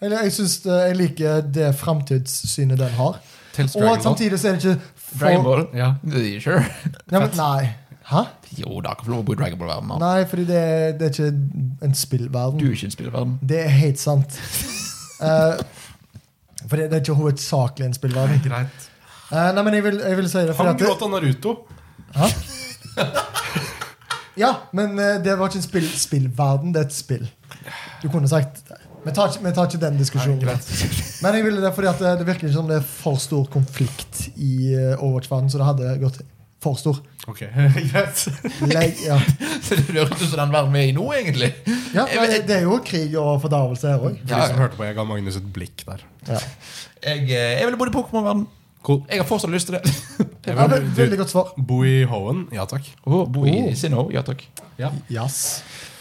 C: Eller jeg synes det, jeg liker det framtidssynet den har.
B: Tales
C: Og
B: Dragon Ball.
C: samtidig så er det ikke for-
A: Dragon Ball?
B: Ja.
A: Eh, Sure.
C: Nei, men, nei. Hæ?
A: Jo da, kan få lov å bo i Dragon Ball-verden. mann.
C: Nei, fordi det, er- det er ikke en spillverden.
A: Du er ikke i en spillverden. *laughs*
C: Det er helt sant. Eh, for det, det er ikke hovedsakelig en spillverden.
B: Greit.
C: Eh, nei, men jeg vil, jeg vil si det fordi
B: Han
C: at det,
B: gråt av Naruto.
C: Hæ? Ja, men eh, det var ikke en spill, spillverden, det er et spill. Du kunne sagt Vi tar, ikke- vi tar ikke den diskusjonen.
B: Nei,
C: men jeg ville det fordi at det, det virker ikke som det er for stor konflikt i eh, Overwatch-verden, så det hadde gått for stor.
B: Ok, *laughs* greit.
C: Le ja.
A: Så Det høres ut som den verden vi er i nå, egentlig.
C: Ja, nei, det- det er jo krig og fordervelse her òg.
B: For de som hørte på, jeg ga Magnus et blikk der.
C: Ja.
A: Jeg, eh, jeg ville bodd i Pokémon-verden.
B: Cool.
A: Jeg har fortsatt *laughs* lyst til det.
B: Jeg
C: Ja,
B: vil,
C: ve- veldig
B: du,
C: godt svar.
B: bo i Hoen? Ja takk.
A: Oh, bo i
C: Oh.
A: Sinnoh. Ja takk.
B: Ja.
C: Yes.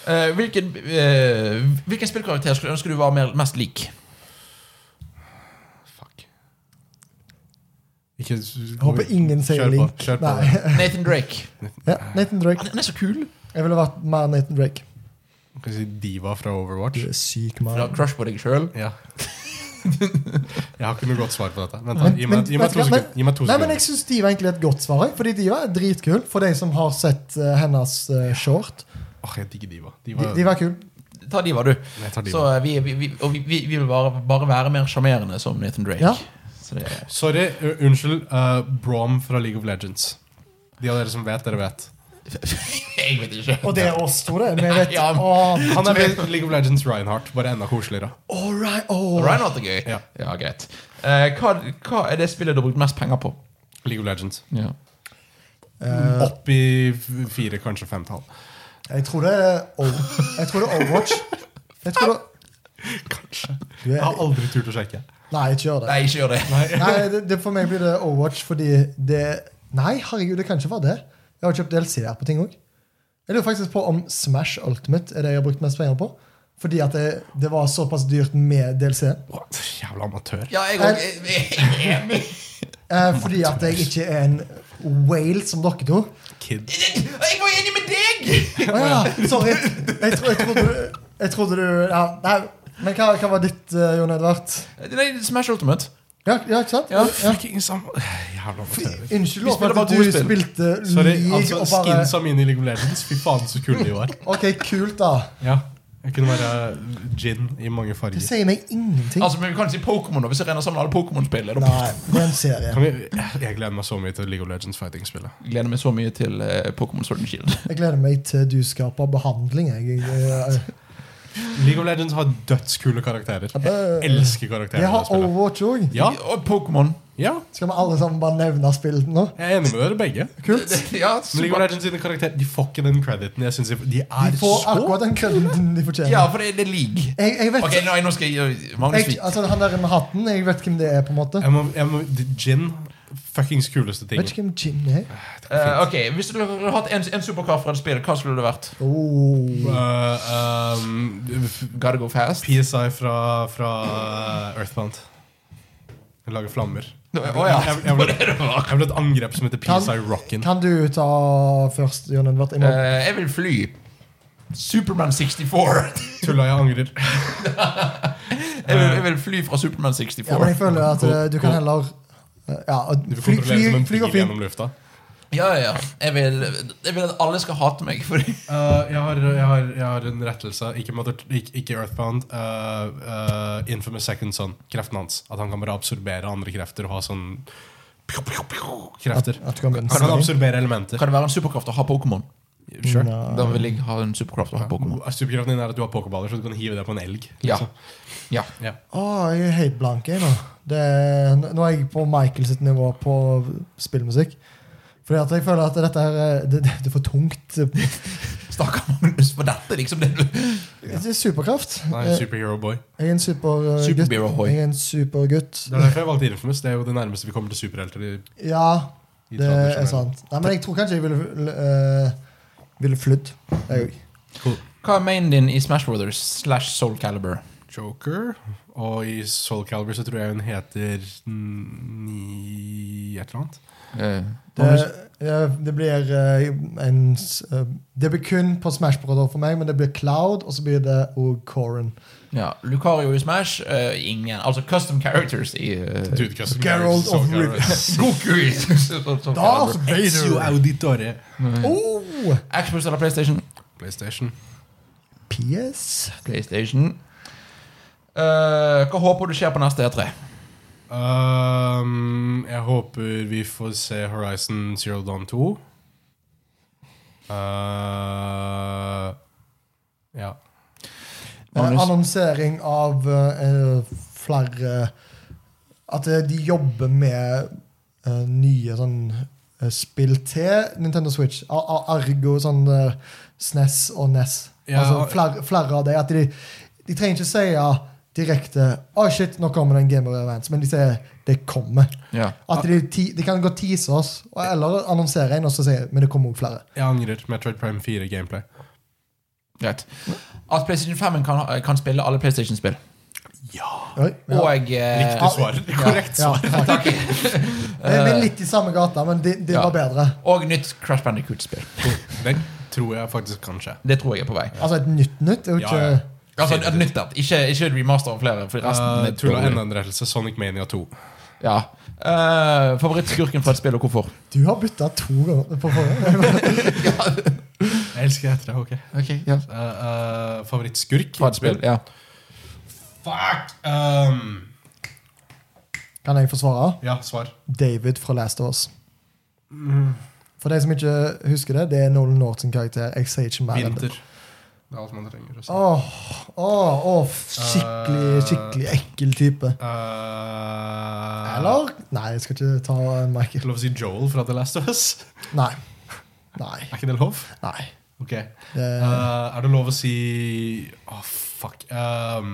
A: Eh, hvilken, eh, hvilken spillkarakter skulle ønske du var mer, mest lik?
B: Fuck. Ikke
C: Jeg håper ingen sier
B: Kjør på,
C: Link.
B: kjør på.
C: Nei. *laughs*
A: Nathan Drake.
C: Ja, Nathan Drake.
A: Han han er så kul!
C: Jeg ville vært mer Nathan Drake.
B: Kan jeg si Diva fra
C: Du
B: Overwatch.
C: er syk,
A: Du har
C: mann.
A: crush på deg sjøl.
B: Ja. Jeg har ikke noe godt svar på dette. Vent, da.
C: Men-
B: Gi meg,
C: men-
B: gi meg
C: vet du
B: to
C: hva,
B: sekunder. Gi meg to
C: Nei, men
B: sekunder.
C: jeg syns Diva egentlig er et godt svar. jeg, Fordi Diva er dritkul for de som har sett eh, hennes eh, short.
B: Åh, jeg digger Diva. Diva.
C: Di- Diva er kul.
A: Ta de, var du.
B: Jeg tar
A: Så
B: Diva.
A: eh, vi, vi, vi, og vi, vi vi vil bare, bare være mer sjarmerende som Nathan Drake.
C: Ja.
A: Så det er *laughs*
B: Sorry, u- unnskyld. eh, Brom fra League of Legends. De av dere som vet, dere vet.
A: Jeg vet ikke.
C: Og det er oss to, det. Men jeg vet
A: Ja.
C: Åh,
B: Han er med i League of Legends Reinhardt, bare enda koseligere.
C: all right, åh.
A: Reinhardt er gøy.
B: Ja.
A: Ja, greit. Eh, hva, hva er det spillet du har brukt mest penger på?
B: League of Legends.
A: Ja.
C: Eh,
B: Opp i f- fire, kanskje femtall.
C: jeg tror det er O- Jeg tror det er Overwatch. Jeg tror det
B: Kanskje.
C: Du er-
B: Jeg har aldri turt å sjekke.
C: Nei, ikke gjør det.
A: Nei, ikke gjør det.
C: *laughs* Nei, det, det For meg blir det Overwatch fordi det Nei, herregud, det kan ikke være det. Jeg har kjøpt DLC-er på ting òg. Jeg lurer faktisk på om Smash Ultimate er det jeg har brukt mest penger på. Fordi at det, det var såpass dyrt med DLC-en.
B: What? Jævla amatør.
A: Ja, jeg òg. Jeg er enig.
C: Eh, fordi at jeg ikke er en whale som dere
A: *laughs*
C: to.
B: Kid.
A: Jeg var enig med deg!
C: Å ja, sorry. Jeg, tro, jeg, trodde du, jeg trodde du ja, Nei, men hva, hva var ditt, eh, Jon Edvard?
A: Nei, Smash Ultimate.
C: Ja, ja ikke sant?
A: Ja.
B: Fucking samme Jævla irriterende.
C: Unnskyld
A: spiller
C: for
A: bare
C: at
A: to
C: du
A: spill.
C: spilte
B: Sorry,
C: League
B: altså,
C: og bare
B: skinsa mine i League of Legends. Fy faen, så kule de var.
C: Ok, kult, da.
B: Ja, Jeg kunne være eh, gin i mange
C: Det
B: farger.
C: sier meg ingenting.
A: Altså, men vi kan ikke si Pokémon, da, hvis jeg renner sammen alle Pokémon-spill. er det-
C: Nei, det er en serie.
B: Kan vi, jeg gleder meg så mye til League of Legends fighting-spillet.
A: Jeg gleder meg så mye til eh, Pokémon Sword and Shield.
C: Jeg gleder meg til du skaper behandling. Jeg, jeg,
B: League of Legends har dødskule karakterer. Jeg elsker karakterer.
C: jeg
B: i det
C: har
B: spillet.
C: Overwatch òg.
B: Ja,
A: Og Pokémon.
B: ja,
C: Skal vi alle sammen bare nevne spillet nå?
B: jeg er enig med dere begge.
C: Kult.
A: *laughs* Ja,
B: Men League
A: super.
B: of Legends sine karakterer De får ikke den crediten. Jeg synes de, de er
C: De får
B: så
C: akkurat den krøden de fortjener.
A: ja for det, det er league.
C: Jeg, jeg vet *laughs*
A: Ok, nei, nå skal jeg gi Magnus
C: jeg,
A: Vik.
C: altså, Han der med hatten, jeg vet hvem det er. på en måte
B: jeg må, jeg må, Gin Fuckings kuleste ting.
C: Vet ikke hvem Jim er.
A: Eh, ok, Hvis du hadde hatt en, en superkar fra et spill, hva skulle det vært?
C: Oh.
B: Uh, um,
A: Gotta go fast?
B: PSI fra, fra uh, Earthbound. Jeg lager flammer.
A: Å ja.
B: Jeg, *laughs* jeg, ble, jeg ble et angrep som heter
C: Kan-
B: PSI Rockin.
C: Kan du ta først, Jon Edvard? Jeg må-
A: Eh, jeg vil fly. Superman 64.
B: Tulla, jeg angrer.
A: *laughs* Jeg vil, jeg vil fly fra Superman 64.
C: Ja, men jeg føler at eh, du kan
B: Gå-
C: heller eh, Ja, at
B: Du
C: fly,
B: kontrollerer som
C: fly,
B: en
C: fly
B: bil
C: og fly.
B: gjennom lufta.
A: Ja, ja, ja. Jeg vil, jeg vil at alle skal hate meg. Fordi
B: Uh, jeg, har, jeg, har, jeg har en rettelse. Ikke, Mother, ikke, ikke Earthbound. Uh, uh, Infamous Second Son. Kreften hans. At han kan bare absorbere andre krefter og ha sånn pju, pju, pju, krefter.
C: At du kan bli en
B: Han kan
C: stilling.
B: absorbere elementer.
A: Kan det være en superkraft å ha Pokémon?
B: Sure.
C: Nei.
A: Da vil jeg ha en superkraft å ha Pokémon.
B: Superkraften din er at du har pokerballer, så du kan hive det på en elg.
A: Ja.
B: liksom.
A: ja.
B: Ja.
C: Å, jeg er helt blank jeg nå. Det, er- nå er jeg på Michael sitt nivå på spillmusikk. Fordi at jeg føler at dette her eh, det, det, det er for tungt.
A: Stakkar Magnus, for dette er liksom det du
C: Det er superkraft.
B: Nei,
C: Eh,
B: superhero boy.
C: Jeg er en super, eh, gutt.
A: Superbeer Ahoy.
C: Jeg er en supergutt.
B: Det er derfor jeg valgte Infamous. Det er jo det nærmeste vi kommer til superhelter. i,
C: Ja,
B: i
C: det er
B: tradisjonell-
C: sant. Nei, men jeg tror kanskje jeg ville, eh, ville flydd. Jeg òg.
A: Hva er mainen din i Smash Brothers slash Soul Caliber?
B: Joker. Og i Soul Calibur så tror jeg hun heter Ni... et eller annet.
C: Eh,
A: Eh,
C: Det, ja, det blir eh, en s- eh, Det blir kun på Smash Brother for meg, men det blir Cloud, og så blir det og Corin.
A: ja. Lucario i Smash? eh, ingen. Altså custom characters i eh,
B: Dude, Custom
C: Geralt
B: Girls, Soul
C: of
B: Calibur.
C: Rivia.
A: Goku i *laughs* Soul
C: Darth
A: Calibur.
B: Ezio
C: Vader!
B: Auditore.
C: Oh,
A: Xbox eller PlayStation?
B: PlayStation.
C: PS?
A: PlayStation. Eh, hva håper du skjer på neste E3?
B: Um, jeg håper vi får se Horizon Zero Dawn 2. Uh, ja.
C: Eh,
A: Magnus?
C: annonsering av eh, eh, flere At eh, de jobber med eh, nye sånn eh, spill til Nintendo Switch. A- a- Argo, sånn eh, SNES og NES.
B: Ja.
C: altså flere, flere av det. At de, de trenger ikke si ja, direkte Å, shit, nå kommer den Game of Advance. Men de sier det kommer.
A: Ja.
C: At de, ti, de kan godt tease oss, og- eller annonsere en, og så si men det kommer også flere.
B: Jeg angrer. Metroid Prime 4 gameplay.
A: Greit. At PlayStation 5 kan, ha- kan spille alle PlayStation-spill.
C: Oi, ja.
A: Og eh,
B: Riktig svar. *laughs* Korrekt
C: Ja,
B: svar.
C: takk. *laughs* Vi er litt i samme gata, men det, det
A: Ja.
C: var bedre.
A: Og nytt Crash Bandicoot-spill.
B: Den tror jeg faktisk kan skje.
A: Det tror jeg er på vei.
C: Altså et nytt nytt er jo ikke
B: Ja, ja.
A: Altså et nytt et, ikke, ikke et remaster av flere. For resten
B: Uh,
A: er
B: Tulla
A: dårlig.
B: enda en rettelse. Sonic Mania 2.
A: ja. Eh, Favorittskurken fra et spill, og hvorfor?
C: Du har bytta to ganger på forhånd.
B: Jeg elsker etter det. ok
A: Okay, ja.
B: uh, uh, Favorittskurk?
A: Fra et spill, ja.
B: Fuck! Um,
C: Kan jeg forsvare?
B: ja, svar.
C: David fra Last of Us.
B: Mm.
C: For de som ikke husker det, det er Nolan North sin karakter. Jeg sier ikke mer enn det.
B: Vinter. Det er alt man trenger. å si.
C: Åh, åh, åh, skikkelig,
B: Eh.
C: skikkelig ekkel type.
B: Uh,
C: Eller? Nei, jeg skal ikke ta en
B: Det
C: Michael.
B: er lov å si Joel fra The Last of Us? *laughs*
C: Nei. Nei.
B: Er ikke det lov?
C: Nei.
B: Ok.
C: Det-
B: Uh, er det lov å si Åh, fuck. Um,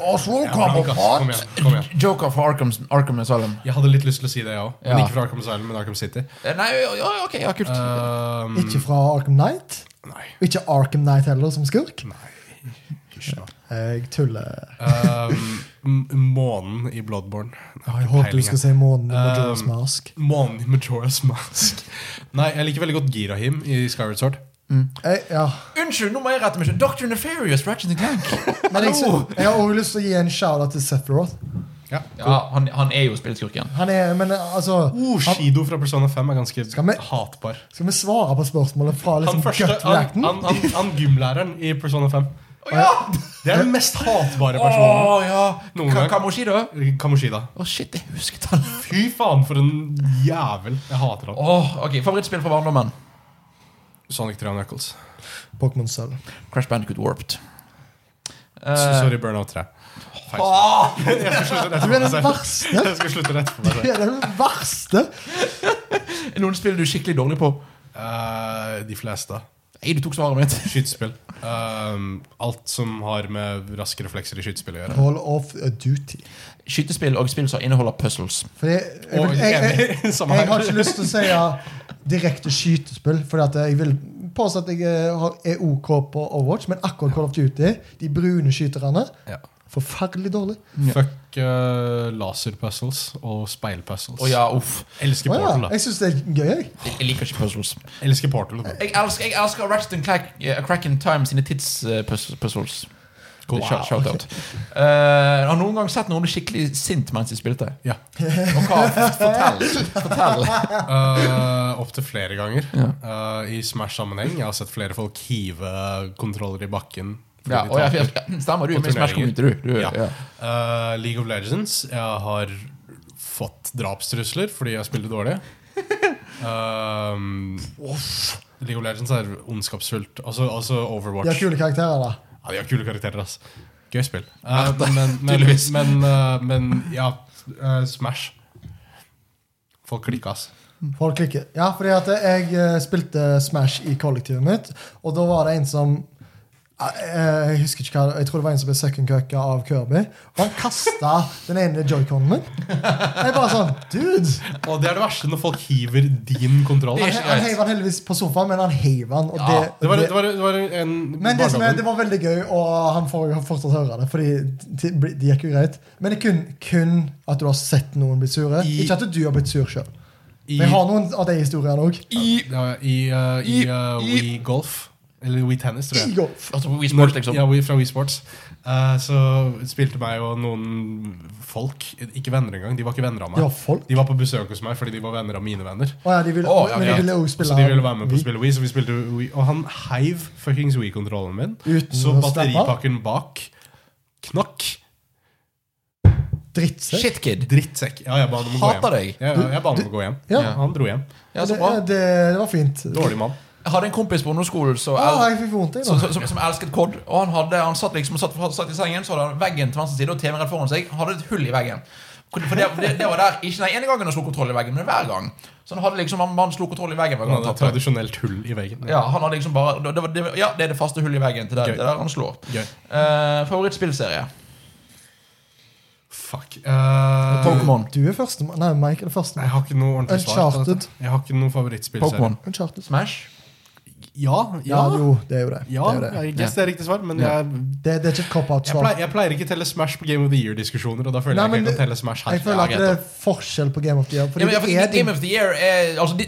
C: Oswald
B: jeg er
C: kommer
B: blank, ass. Kom
C: på!
B: igjen. Kom igjen.
A: Joker fra Arkham, Arkham Asylum.
B: Jeg hadde litt lyst til å si det, jeg òg.
A: Ja.
B: Men ikke fra Arkham Asylum, men Arkham City.
A: Eh, Nei, ja, ja, ok, ja, kult.
B: Um,
C: Ikke fra Arkham Knight.
B: Nei.
C: Ikke Arkham Knight heller, som skurk.
B: Hysj nå.
C: Jeg tuller.
B: Um, m- månen i Bloodborne. Jeg har
C: Jeg
B: ikke
C: håper du
B: peiling,
C: skal
B: jeg.
C: si månen med Majora's
B: Um,
C: Mask.
B: Månen i Majora's Mask. Nei, jeg liker veldig godt Girahim i Skyward Sword.
C: Jeg, Eh, ja.
A: Unnskyld, nå må jeg rette meg selv. Dr. Nefarious, Ratchet *laughs* Clank.
C: Men jeg,
A: Hallo!
C: jeg har også lyst til å gi en shout-out til Sephiroth.
B: Ja.
A: Ja, han, han er jo spillskurken.
C: Han er, men altså
B: Oh, Shido fra Persona 5 er ganske
C: Skal vi-
B: hatbar.
C: Skal vi svare på spørsmålet fra liksom
B: Han, første,
C: gut
B: han,
C: reacten?
B: han, han, han gymlæreren i Persona 5.
A: Å ja!
B: Det er den mest hatbare
A: Å
B: personen.
A: ja!
B: Noen
A: Ka-
B: gang.
A: Kamoshido? Å,
B: Kamoshida.
A: shit, jeg husket han.
B: Fy faen, for en jævel. Jeg hater han.
A: Åh, ok, Favorittspill fra barndommen?
B: Sonic 3 Knuckles.
C: Pokémon Sølv.
A: Crash Bandicoot Warped.
B: S-
A: Eh,
B: Sorry, Burnout 3. Feil.
A: åh,
B: *laughs* Jeg skal slutte
C: Du
B: rett
C: er
B: for meg
C: den
B: selv.
C: verste!
B: Jeg skal slutte rett for meg
C: Du
B: selv.
C: er den verste!
A: noen spill du er skikkelig dårlig på?
B: Eh, de fleste.
A: Nei, du tok svaret mitt.
B: Skytespill. Um, alt som har med raske reflekser i skytespill å gjøre.
C: Call of Duty.
A: Skytespill og spill som inneholder puzzles.
C: Fordi jeg, jeg,
B: Og
C: jeg, jeg,
B: enig, *laughs* samme
C: jeg har
B: her.
C: ikke lyst til å si ja, direkte skytespill, Fordi at jeg vil påstå at jeg eh, har- er OK på Overwatch, men akkurat Call of Duty, de brune skyterne,
B: Ja.
C: forferdelig dårlig.
B: Fuck uh, laserpuzzles og speilpuzzles.
A: Å ja, uff.
B: Elsker
C: Å ja,
B: Portal. da.
C: jeg syns det er gøy, jeg.
A: Jeg jeg liker ikke puzzles.
B: Elsker Portal. da.
A: Jeg elsker, jeg elsker Ratchet and Clank, eh, Crack in Time sine eh, tidspuzzles.
B: Cool.
A: Shout, shout out. Eh, har noen gang sett noen bli skikkelig sint mens de spilte?
B: Ja.
A: Og *laughs* hva? Fortell. Fortell.
B: Uh, Opptil flere ganger.
A: Ja.
B: Uh, I Smash-sammenheng. Jeg har sett flere folk hive kontroller i bakken. fordi
A: Ja,
B: de
A: og jeg,
B: taper.
A: jeg, stemmer, du er
B: Og
A: med i Smash
B: turneringer.
A: Community, du. du
B: Ja.
A: ja.
B: Eh, League of Legends. Jeg har fått drapstrusler fordi jeg spilte dårlig.
A: *laughs*
B: Um, League of Legends er ondskapsfullt. Altså, altså Overwatch.
C: De har kule karakterer, da.
B: Ja, de har kule karakterer, ass. Gøy spill. Eh,
A: Ja,
B: men, men,
A: tydeligvis.
B: men, eh, men ja, eh, Smash. Folk klikka, ass.
C: Folk liker. Ja, fordi at jeg eh, spilte Smash i kollektivet mitt, og da var det en som eh, eh, jeg husker ikke hva Jeg tror det var en som ble second cucka av Kirby. Og han kasta den ene joyconen min. Jeg bare sånn Dude!
B: Og det er det verste når folk hiver din kontroll.
A: Det er ikke
C: Han
A: greit.
C: heiv han heldigvis på sofaen, men han heiv han. Og
A: Ja,
C: det,
B: Det var, det var, det var en
C: Men det, som er,
B: barndommen.
C: det var veldig gøy, og han får jo fortsatt høre det. Fordi det blir- det gikk jo greit Men det er kun, kun at du har sett noen bli sure.
B: I-
C: ikke at du har blitt sur sjøl.
B: I-
C: Jeg har noen av de historiene òg.
A: I
B: Ja, I, uh, i,
A: I-
B: uh,
A: i-
B: Wii Golf. Eller Wii Tennis, tror jeg.
A: Altså på Wii Sports,
B: Når-
A: liksom.
B: Ja, Wii, fra Wii Sports. Eh, så spilte meg og noen folk Ikke venner engang. De var ikke venner av meg.
C: De var folk?
B: De var på besøk hos meg fordi de var venner av mine venner.
C: Å ja, de ville,
A: Å, ja,
C: men de
A: greit.
C: ville også spille
B: så de ville være med på å
C: Wii.
B: spille Wii, så vi spilte Wii. Og han heiv fuckings Wii-kontrollen min.
C: Uten å slappe
B: så
C: av?
B: batteripakken bak knakk.
C: Drittsekk.
A: Shit, kid.
B: Drittsekk. Ja, jeg ba han om å gå hjem.
A: Hater deg.
B: Ja, ja, jeg ba han om å gå hjem.
C: Ja.
B: Ja, Han dro hjem.
A: Ja, så
C: det,
A: bra.
C: det, det var fint.
B: Dårlig mann.
A: Jeg hadde en kompis på ungdomsskolen som
C: Å,
A: el-
C: jeg fikk vondt i
A: som,
C: det.
A: som, som, som elsket Cod. Og han, hadde, han satt, liksom, satt, satt i sengen, så hadde han veggen til venstre side og TV rett foran seg. Han hadde et hull i veggen. For det, det, det var der Ikke den ene gangen han slo kontroll i veggen, men hver gang. Så han hadde liksom han, han slo kontroll i veggen hver
B: Han
A: gang
B: hadde
A: han
B: et
A: tapte.
B: tradisjonelt hull i veggen.
A: Ja, han hadde liksom bare det, var, det, var- ja, det er det faste hullet i veggen til der,
B: Gøy.
A: det der han slår.
B: Gøy.
A: Eh, favorittspillserie?
B: Fuck. Eh,
A: Pokémon.
C: Du er førstemann. Nei, Mike er det første.
B: Jeg har ikke noe ordentlig svar. på
C: Uncharted.
B: dette. Jeg har ikke noe favorittspillserie.
A: Pokémon.
C: Uncharted.
A: Smash?
B: Ja,
C: Ja,
B: ja, ja,
C: jo, det er jo det. det, er jo det.
B: jeg guess det er riktig svar, men
A: Ja.
B: jeg,
C: Det, det er ikke et
B: jeg,
C: cop-out-svar.
B: pleier, jeg pleier ikke å telle Smash på Game of the Year-diskusjoner, og da føler
C: Nei,
B: jeg
C: men
B: ikke jeg
C: det-
B: kan telle Smash her.
C: Jeg føler at
A: Ja,
C: det
A: greit
C: er forskjell på Game of the Year. Fordi
A: Ja, men,
C: det
A: ja,
C: er
A: for
C: din-
A: Game of the Year er altså, de,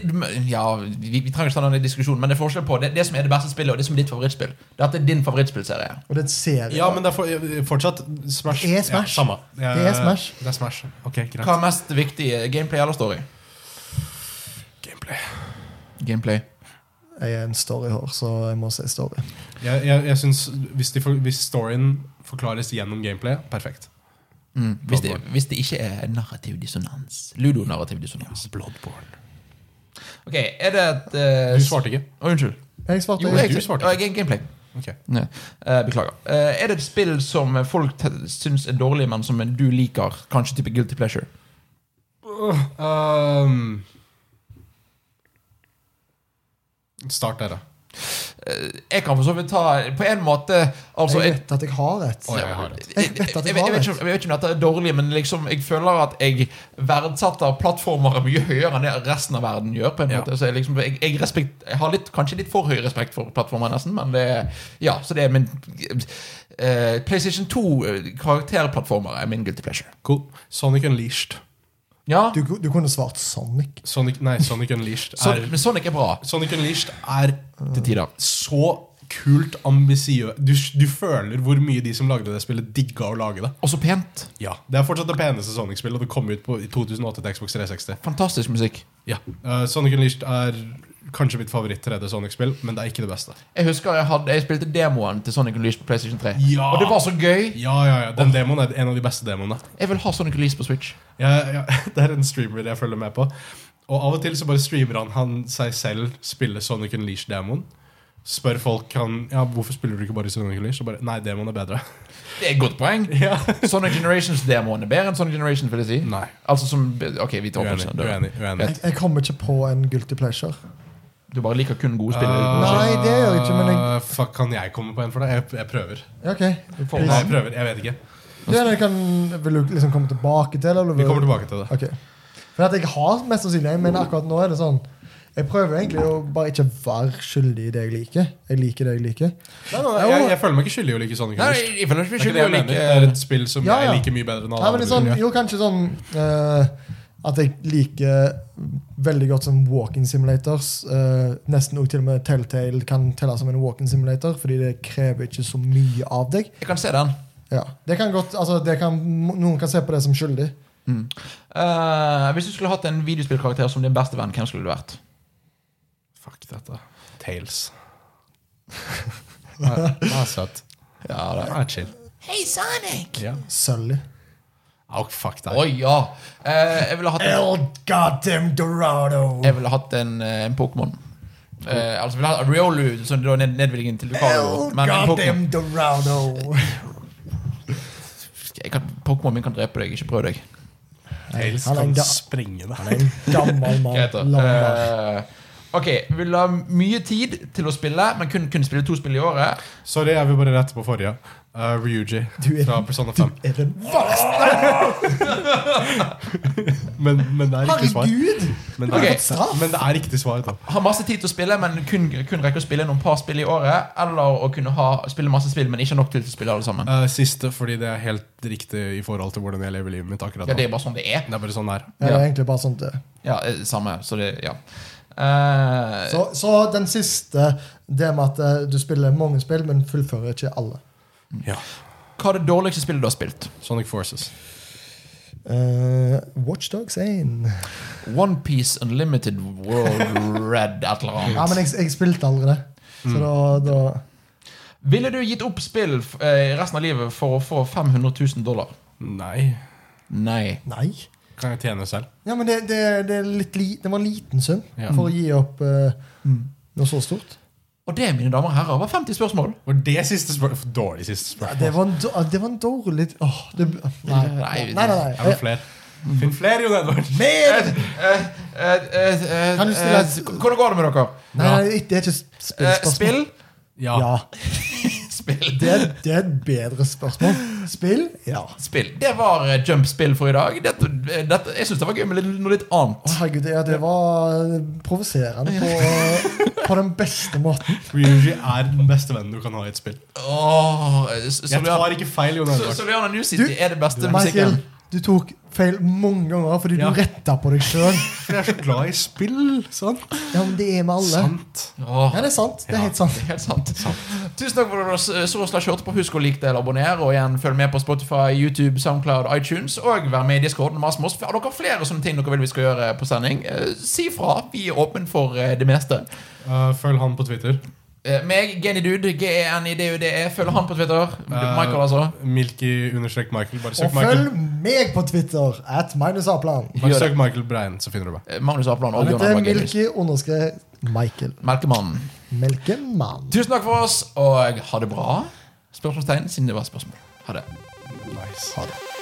A: Ja, vi, vi trenger ikke ta den diskusjonen, men det er forskjell på det, det som er det beste spillet, og det som er ditt favorittspill. Dette er din favorittspillserie.
C: Og det er en serie.
B: Ja, men det er for, fortsatt Smash.
C: Det er Smash.
B: Ja, samme. Jeg-
C: Det er Smash.
B: Det er Smash. Ok, greit.
A: Hva er mest viktig? Gameplay eller story?
B: Gameplay.
A: Gameplay.
C: Jeg er en storyhår, så jeg må si story.
B: Jeg, jeg, jeg synes hvis, de for, hvis storyen forklares gjennom gameplay, perfekt.
A: Mm. Hvis, det, hvis det ikke er narrativ dissonans. Ludonarrativ dissonans.
B: Bloodborne.
A: Ok, er det et eh,
B: Du svarte ikke.
A: Å, unnskyld.
C: Jeg svarte
A: Jo,
C: jeg-
A: jeg,
B: du svarte
A: ja, game- gameplay.
B: Ok.
A: Ja. Eh, beklager. Eh, er det et spill som folk te- syns er dårlig, men som du liker? Kanskje type guilty pleasure?
B: Um, start der, da.
A: Jeg kan for så vidt ta På en måte altså,
C: jeg
A: jeg,
C: vet at jeg har rett.
B: Oi, jeg har et.
A: jeg,
C: Jeg vet at jeg
A: vet-
C: har
A: vet ikke, om- jeg vet ikke om dette er dårlig, men liksom, jeg føler at jeg verdsetter plattformer mye høyere enn det resten av verden gjør. på en
B: Ja.
A: måte så jeg, liksom, jeg, jeg, respekt, jeg har litt, kanskje litt for høy respekt for plattformer, nesten, men det er- Ja, så det er min eh, PlayStation 2-karakterplattformer er eh, min guilty pleasure.
B: Cool. Sonic Unleashed.
A: Ja,
C: Du, du kunne svart Sonic.
B: Sonic, nei, Sonic Unleashed
A: Son-
B: er
A: men Sonic er bra
B: Sonic Unleashed er
A: til tider.
B: så kult ambisiøs du, du føler hvor mye de som lagde det spillet, digga å lage det.
A: Også pent.
B: Ja, Det er fortsatt det peneste Sonic-spillet, og det kom ut på, i 2008 til Xbox 360.
A: Fantastisk musikk.
B: Ja. Eh, Sonic Unleashed er kanskje mitt favoritt 3D Sonic-spill, men det er ikke det beste.
A: Jeg husker jeg, hadde, jeg spilte demoen til Sonic Unleashed på PlayStation 3.
B: Ja.
A: Og det var så gøy.
B: Ja, ja, ja, Den demoen er en av de beste demoene.
A: Jeg vil ha Sonic Unleashed på Switch.
B: Jeg, jeg, *laughs* det er en streamer jeg følger med på. Og av og til så bare streamer han, han seg selv spille Sonic Unleashed-demoen. Spør folk han, ja, hvorfor spiller du ikke bare Sonic Unleashed. Og bare, Nei, demoen er bedre.
A: Det er et godt poeng.
B: Ja.
A: Sonic Generations-demoen er bedre enn Sonic Generations, vil jeg si.
B: Nei.
A: Altså som Ok, vi tar
B: Uenig.
A: opplevelsen.
B: uenig, uenig.
C: Jeg, jeg kommer ikke på en guilty pleasure.
A: Du bare liker kun gode spill.
C: Nei. det gjør jeg ikke, men jeg-
B: Eh, Fuck, Kan jeg komme på en for deg? Jeg, jeg prøver.
C: Ja, OK.
A: får
B: Nei,
C: Please.
B: jeg prøver, jeg vet ikke.
C: Ja, men jeg kan, vil du liksom komme tilbake til det? eller
B: Vi
C: vil-
B: kommer tilbake til det.
C: Ok. For at jeg har mest sannsynlig Jeg mener akkurat nå er det sånn Jeg prøver egentlig å bare ikke være skyldig i det jeg liker. Jeg liker det jeg liker.
B: Nei, nei, nei, jeg, jeg føler meg ikke skyldig i å like Sonic
A: Nei,
B: Unleashed.
A: jeg føler ikke vi
B: Det er ikke det
A: skylder å
B: jeg mener.
A: like eh,
B: Det er et spill som
C: Ja, ja.
B: jeg liker mye bedre enn
C: Nei,
B: alle
C: men
B: andre.
C: litt sånn,
B: spill.
C: jo, kanskje sånn eh, At jeg liker veldig godt sånn walking simulators. eh, nesten også til og med Telltale kan telle som en walking simulator, fordi det krever ikke så mye av deg.
A: Jeg kan se den.
C: Ja, det kan godt, altså det kan, Noen kan se på det som skyldig.
A: Eh, hvis du skulle hatt en videospillkarakter som din beste venn, hvem skulle du vært?
B: Fuck dette. Tales. Det er- det er søtt.
A: Ja,
B: Det er chill.
A: Hei, Sonic!
B: Ja.
C: Sølly.
B: Au, fuck deg.
A: Å ja. Eh, jeg ville hatt en,
C: El goddamn Dorado!
A: jeg ville hatt en, eh, en Pokémon. Eh, altså, jeg ville hatt Riolu, som da er ned, nedvilligen til Lucario. Men en Pokémon
C: Dorado!
A: Jeg kan- Pokémon min kan drepe deg, ikke prøv deg.
B: Tales
C: Han er en
B: kan
C: ga-
B: sprenge deg.
C: En gammel mann.
A: Greit, da.
C: lang mann.
A: Eh, ok, vil ha mye tid til å spille, men kun kunne spille to spill i året.
B: Sorry, jeg vil bare rette på forrige. Uh, Ryuji
C: Du er-
B: fra Persona 5.
A: Eh,
C: Er det
B: Men, men det er riktig svar.
C: Herregud!
B: Men det
A: Ok.
B: er, men det er riktig svar. Da.
A: Ha masse tid til å spille, men kun, kun rekke å spille noen par spill i året. Eller å kunne ha, spille masse spill, men ikke nok til å spille alle sammen.
B: Eh, siste, fordi det er helt riktig i forhold til hvordan jeg lever livet mitt akkurat
A: Ja,
B: nå.
A: Det er bare sånn det er.
B: Det er bare sånn det er.
C: Ja, det
A: Ja.
C: er egentlig bare sånt det.
A: Ja, eh, Samme, så det Ja. Eh,
C: Så, så den siste, det med at eh, du spiller mange spill, men fullfører ikke alle. Mm.
B: Ja.
A: hva er det dårligste spillet du har spilt?
B: Sonic Forces.
C: Uh, Watchdogs 1.
A: Onepiece Unlimited World Red, et eller annet.
C: Ja, men jeg, jeg spilte aldri det. Så da, da
A: Ville du gitt opp spill eh, resten av livet for å få 500 000 dollar?
B: Nei.
A: Nei.
C: Nei.
B: Kan jeg tjene selv?
C: Ja, men det, det, det, er litt li, det var en liten sum
B: Ja.
C: for å gi opp eh, noe så stort.
A: Og det, mine damer og herrer, var 50 spørsmål.
B: Var det siste spørsmål? Dårlig siste
C: Ja,
B: spørsmål.
C: det, var en, dår- det var en dårlig åh, det, nei, nei,
A: Nei.
C: nei.
B: Er det
C: nei.
B: flere? Finn flere, Jon Edvard!
C: Mm. Mer! Kan
A: Kan
C: du stille et-
A: Hvordan går det med dere?
C: Nei, nei, det er ikke sp-
A: Eh,
C: spillspørsmål.
A: spill?
B: Ja.
C: Ja.
A: *laughs* Spill.
C: Det, er- det er et bedre spørsmål. Spill? Ja.
A: Spill. Det var eh, jump-spill for i dag. Dette, eh, dette, jeg syns det var gøy med litt, noe litt
C: Å,
A: annet.
C: herregud, ja, det var eh, provoserende på, eh, på den beste måten.
B: Ryuji er den beste vennen du kan ha i et spill.
A: Åh, eh, S-
B: Jeg
A: Soliana-
B: tar ikke feil, Jon
A: S-
B: Edvard.
A: Soliana New City
C: Du-
A: er det beste
C: Michael,
A: musikken.
C: du tok feil mange ganger fordi
B: Ja.
C: du retta på deg sjøl.
B: For jeg er så glad i spill. Sant?
C: Ja, men det er med alle.
B: Sant.
A: Åh,
C: Ja, det er sant. Det er helt sant.
A: Helt sant. Tusen takk for at dere s- så og slash hørte på. Husk å like det eller abonnere. Og igjen, følg med på Spotify, YouTube, Soundcloud, iTunes. Og vær med i Discorden. Mas med oss. Har dere flere sånne ting dere vil vi skal gjøre på sending, eh, si fra. Vi er åpne for eh, det meste.
B: Uh, følg han på Twitter.
A: Eh, meg, Genidude, G-E-N-I-D-U-D-E. Følg han på Twitter.
B: Eh,
A: Michael, altså.
B: Milky understrek Michael. Bare søk
C: Og
B: Michael.
C: følg meg på Twitter at Magnus Aplan.
B: Bare
A: Gjør det.
B: søk Michael Brein, så finner du meg.
A: Eh, Magnus Apland og
C: Han
A: Bjørn
C: heter
A: Alvar Genius.
C: Milky underskrev Michael.
A: Melkemannen.
C: Melkemann.
A: Tusen takk for oss, og ha det bra. Spørsmålstegn, siden det var spørsmål. Ha det.
B: Nice.
C: Ha det.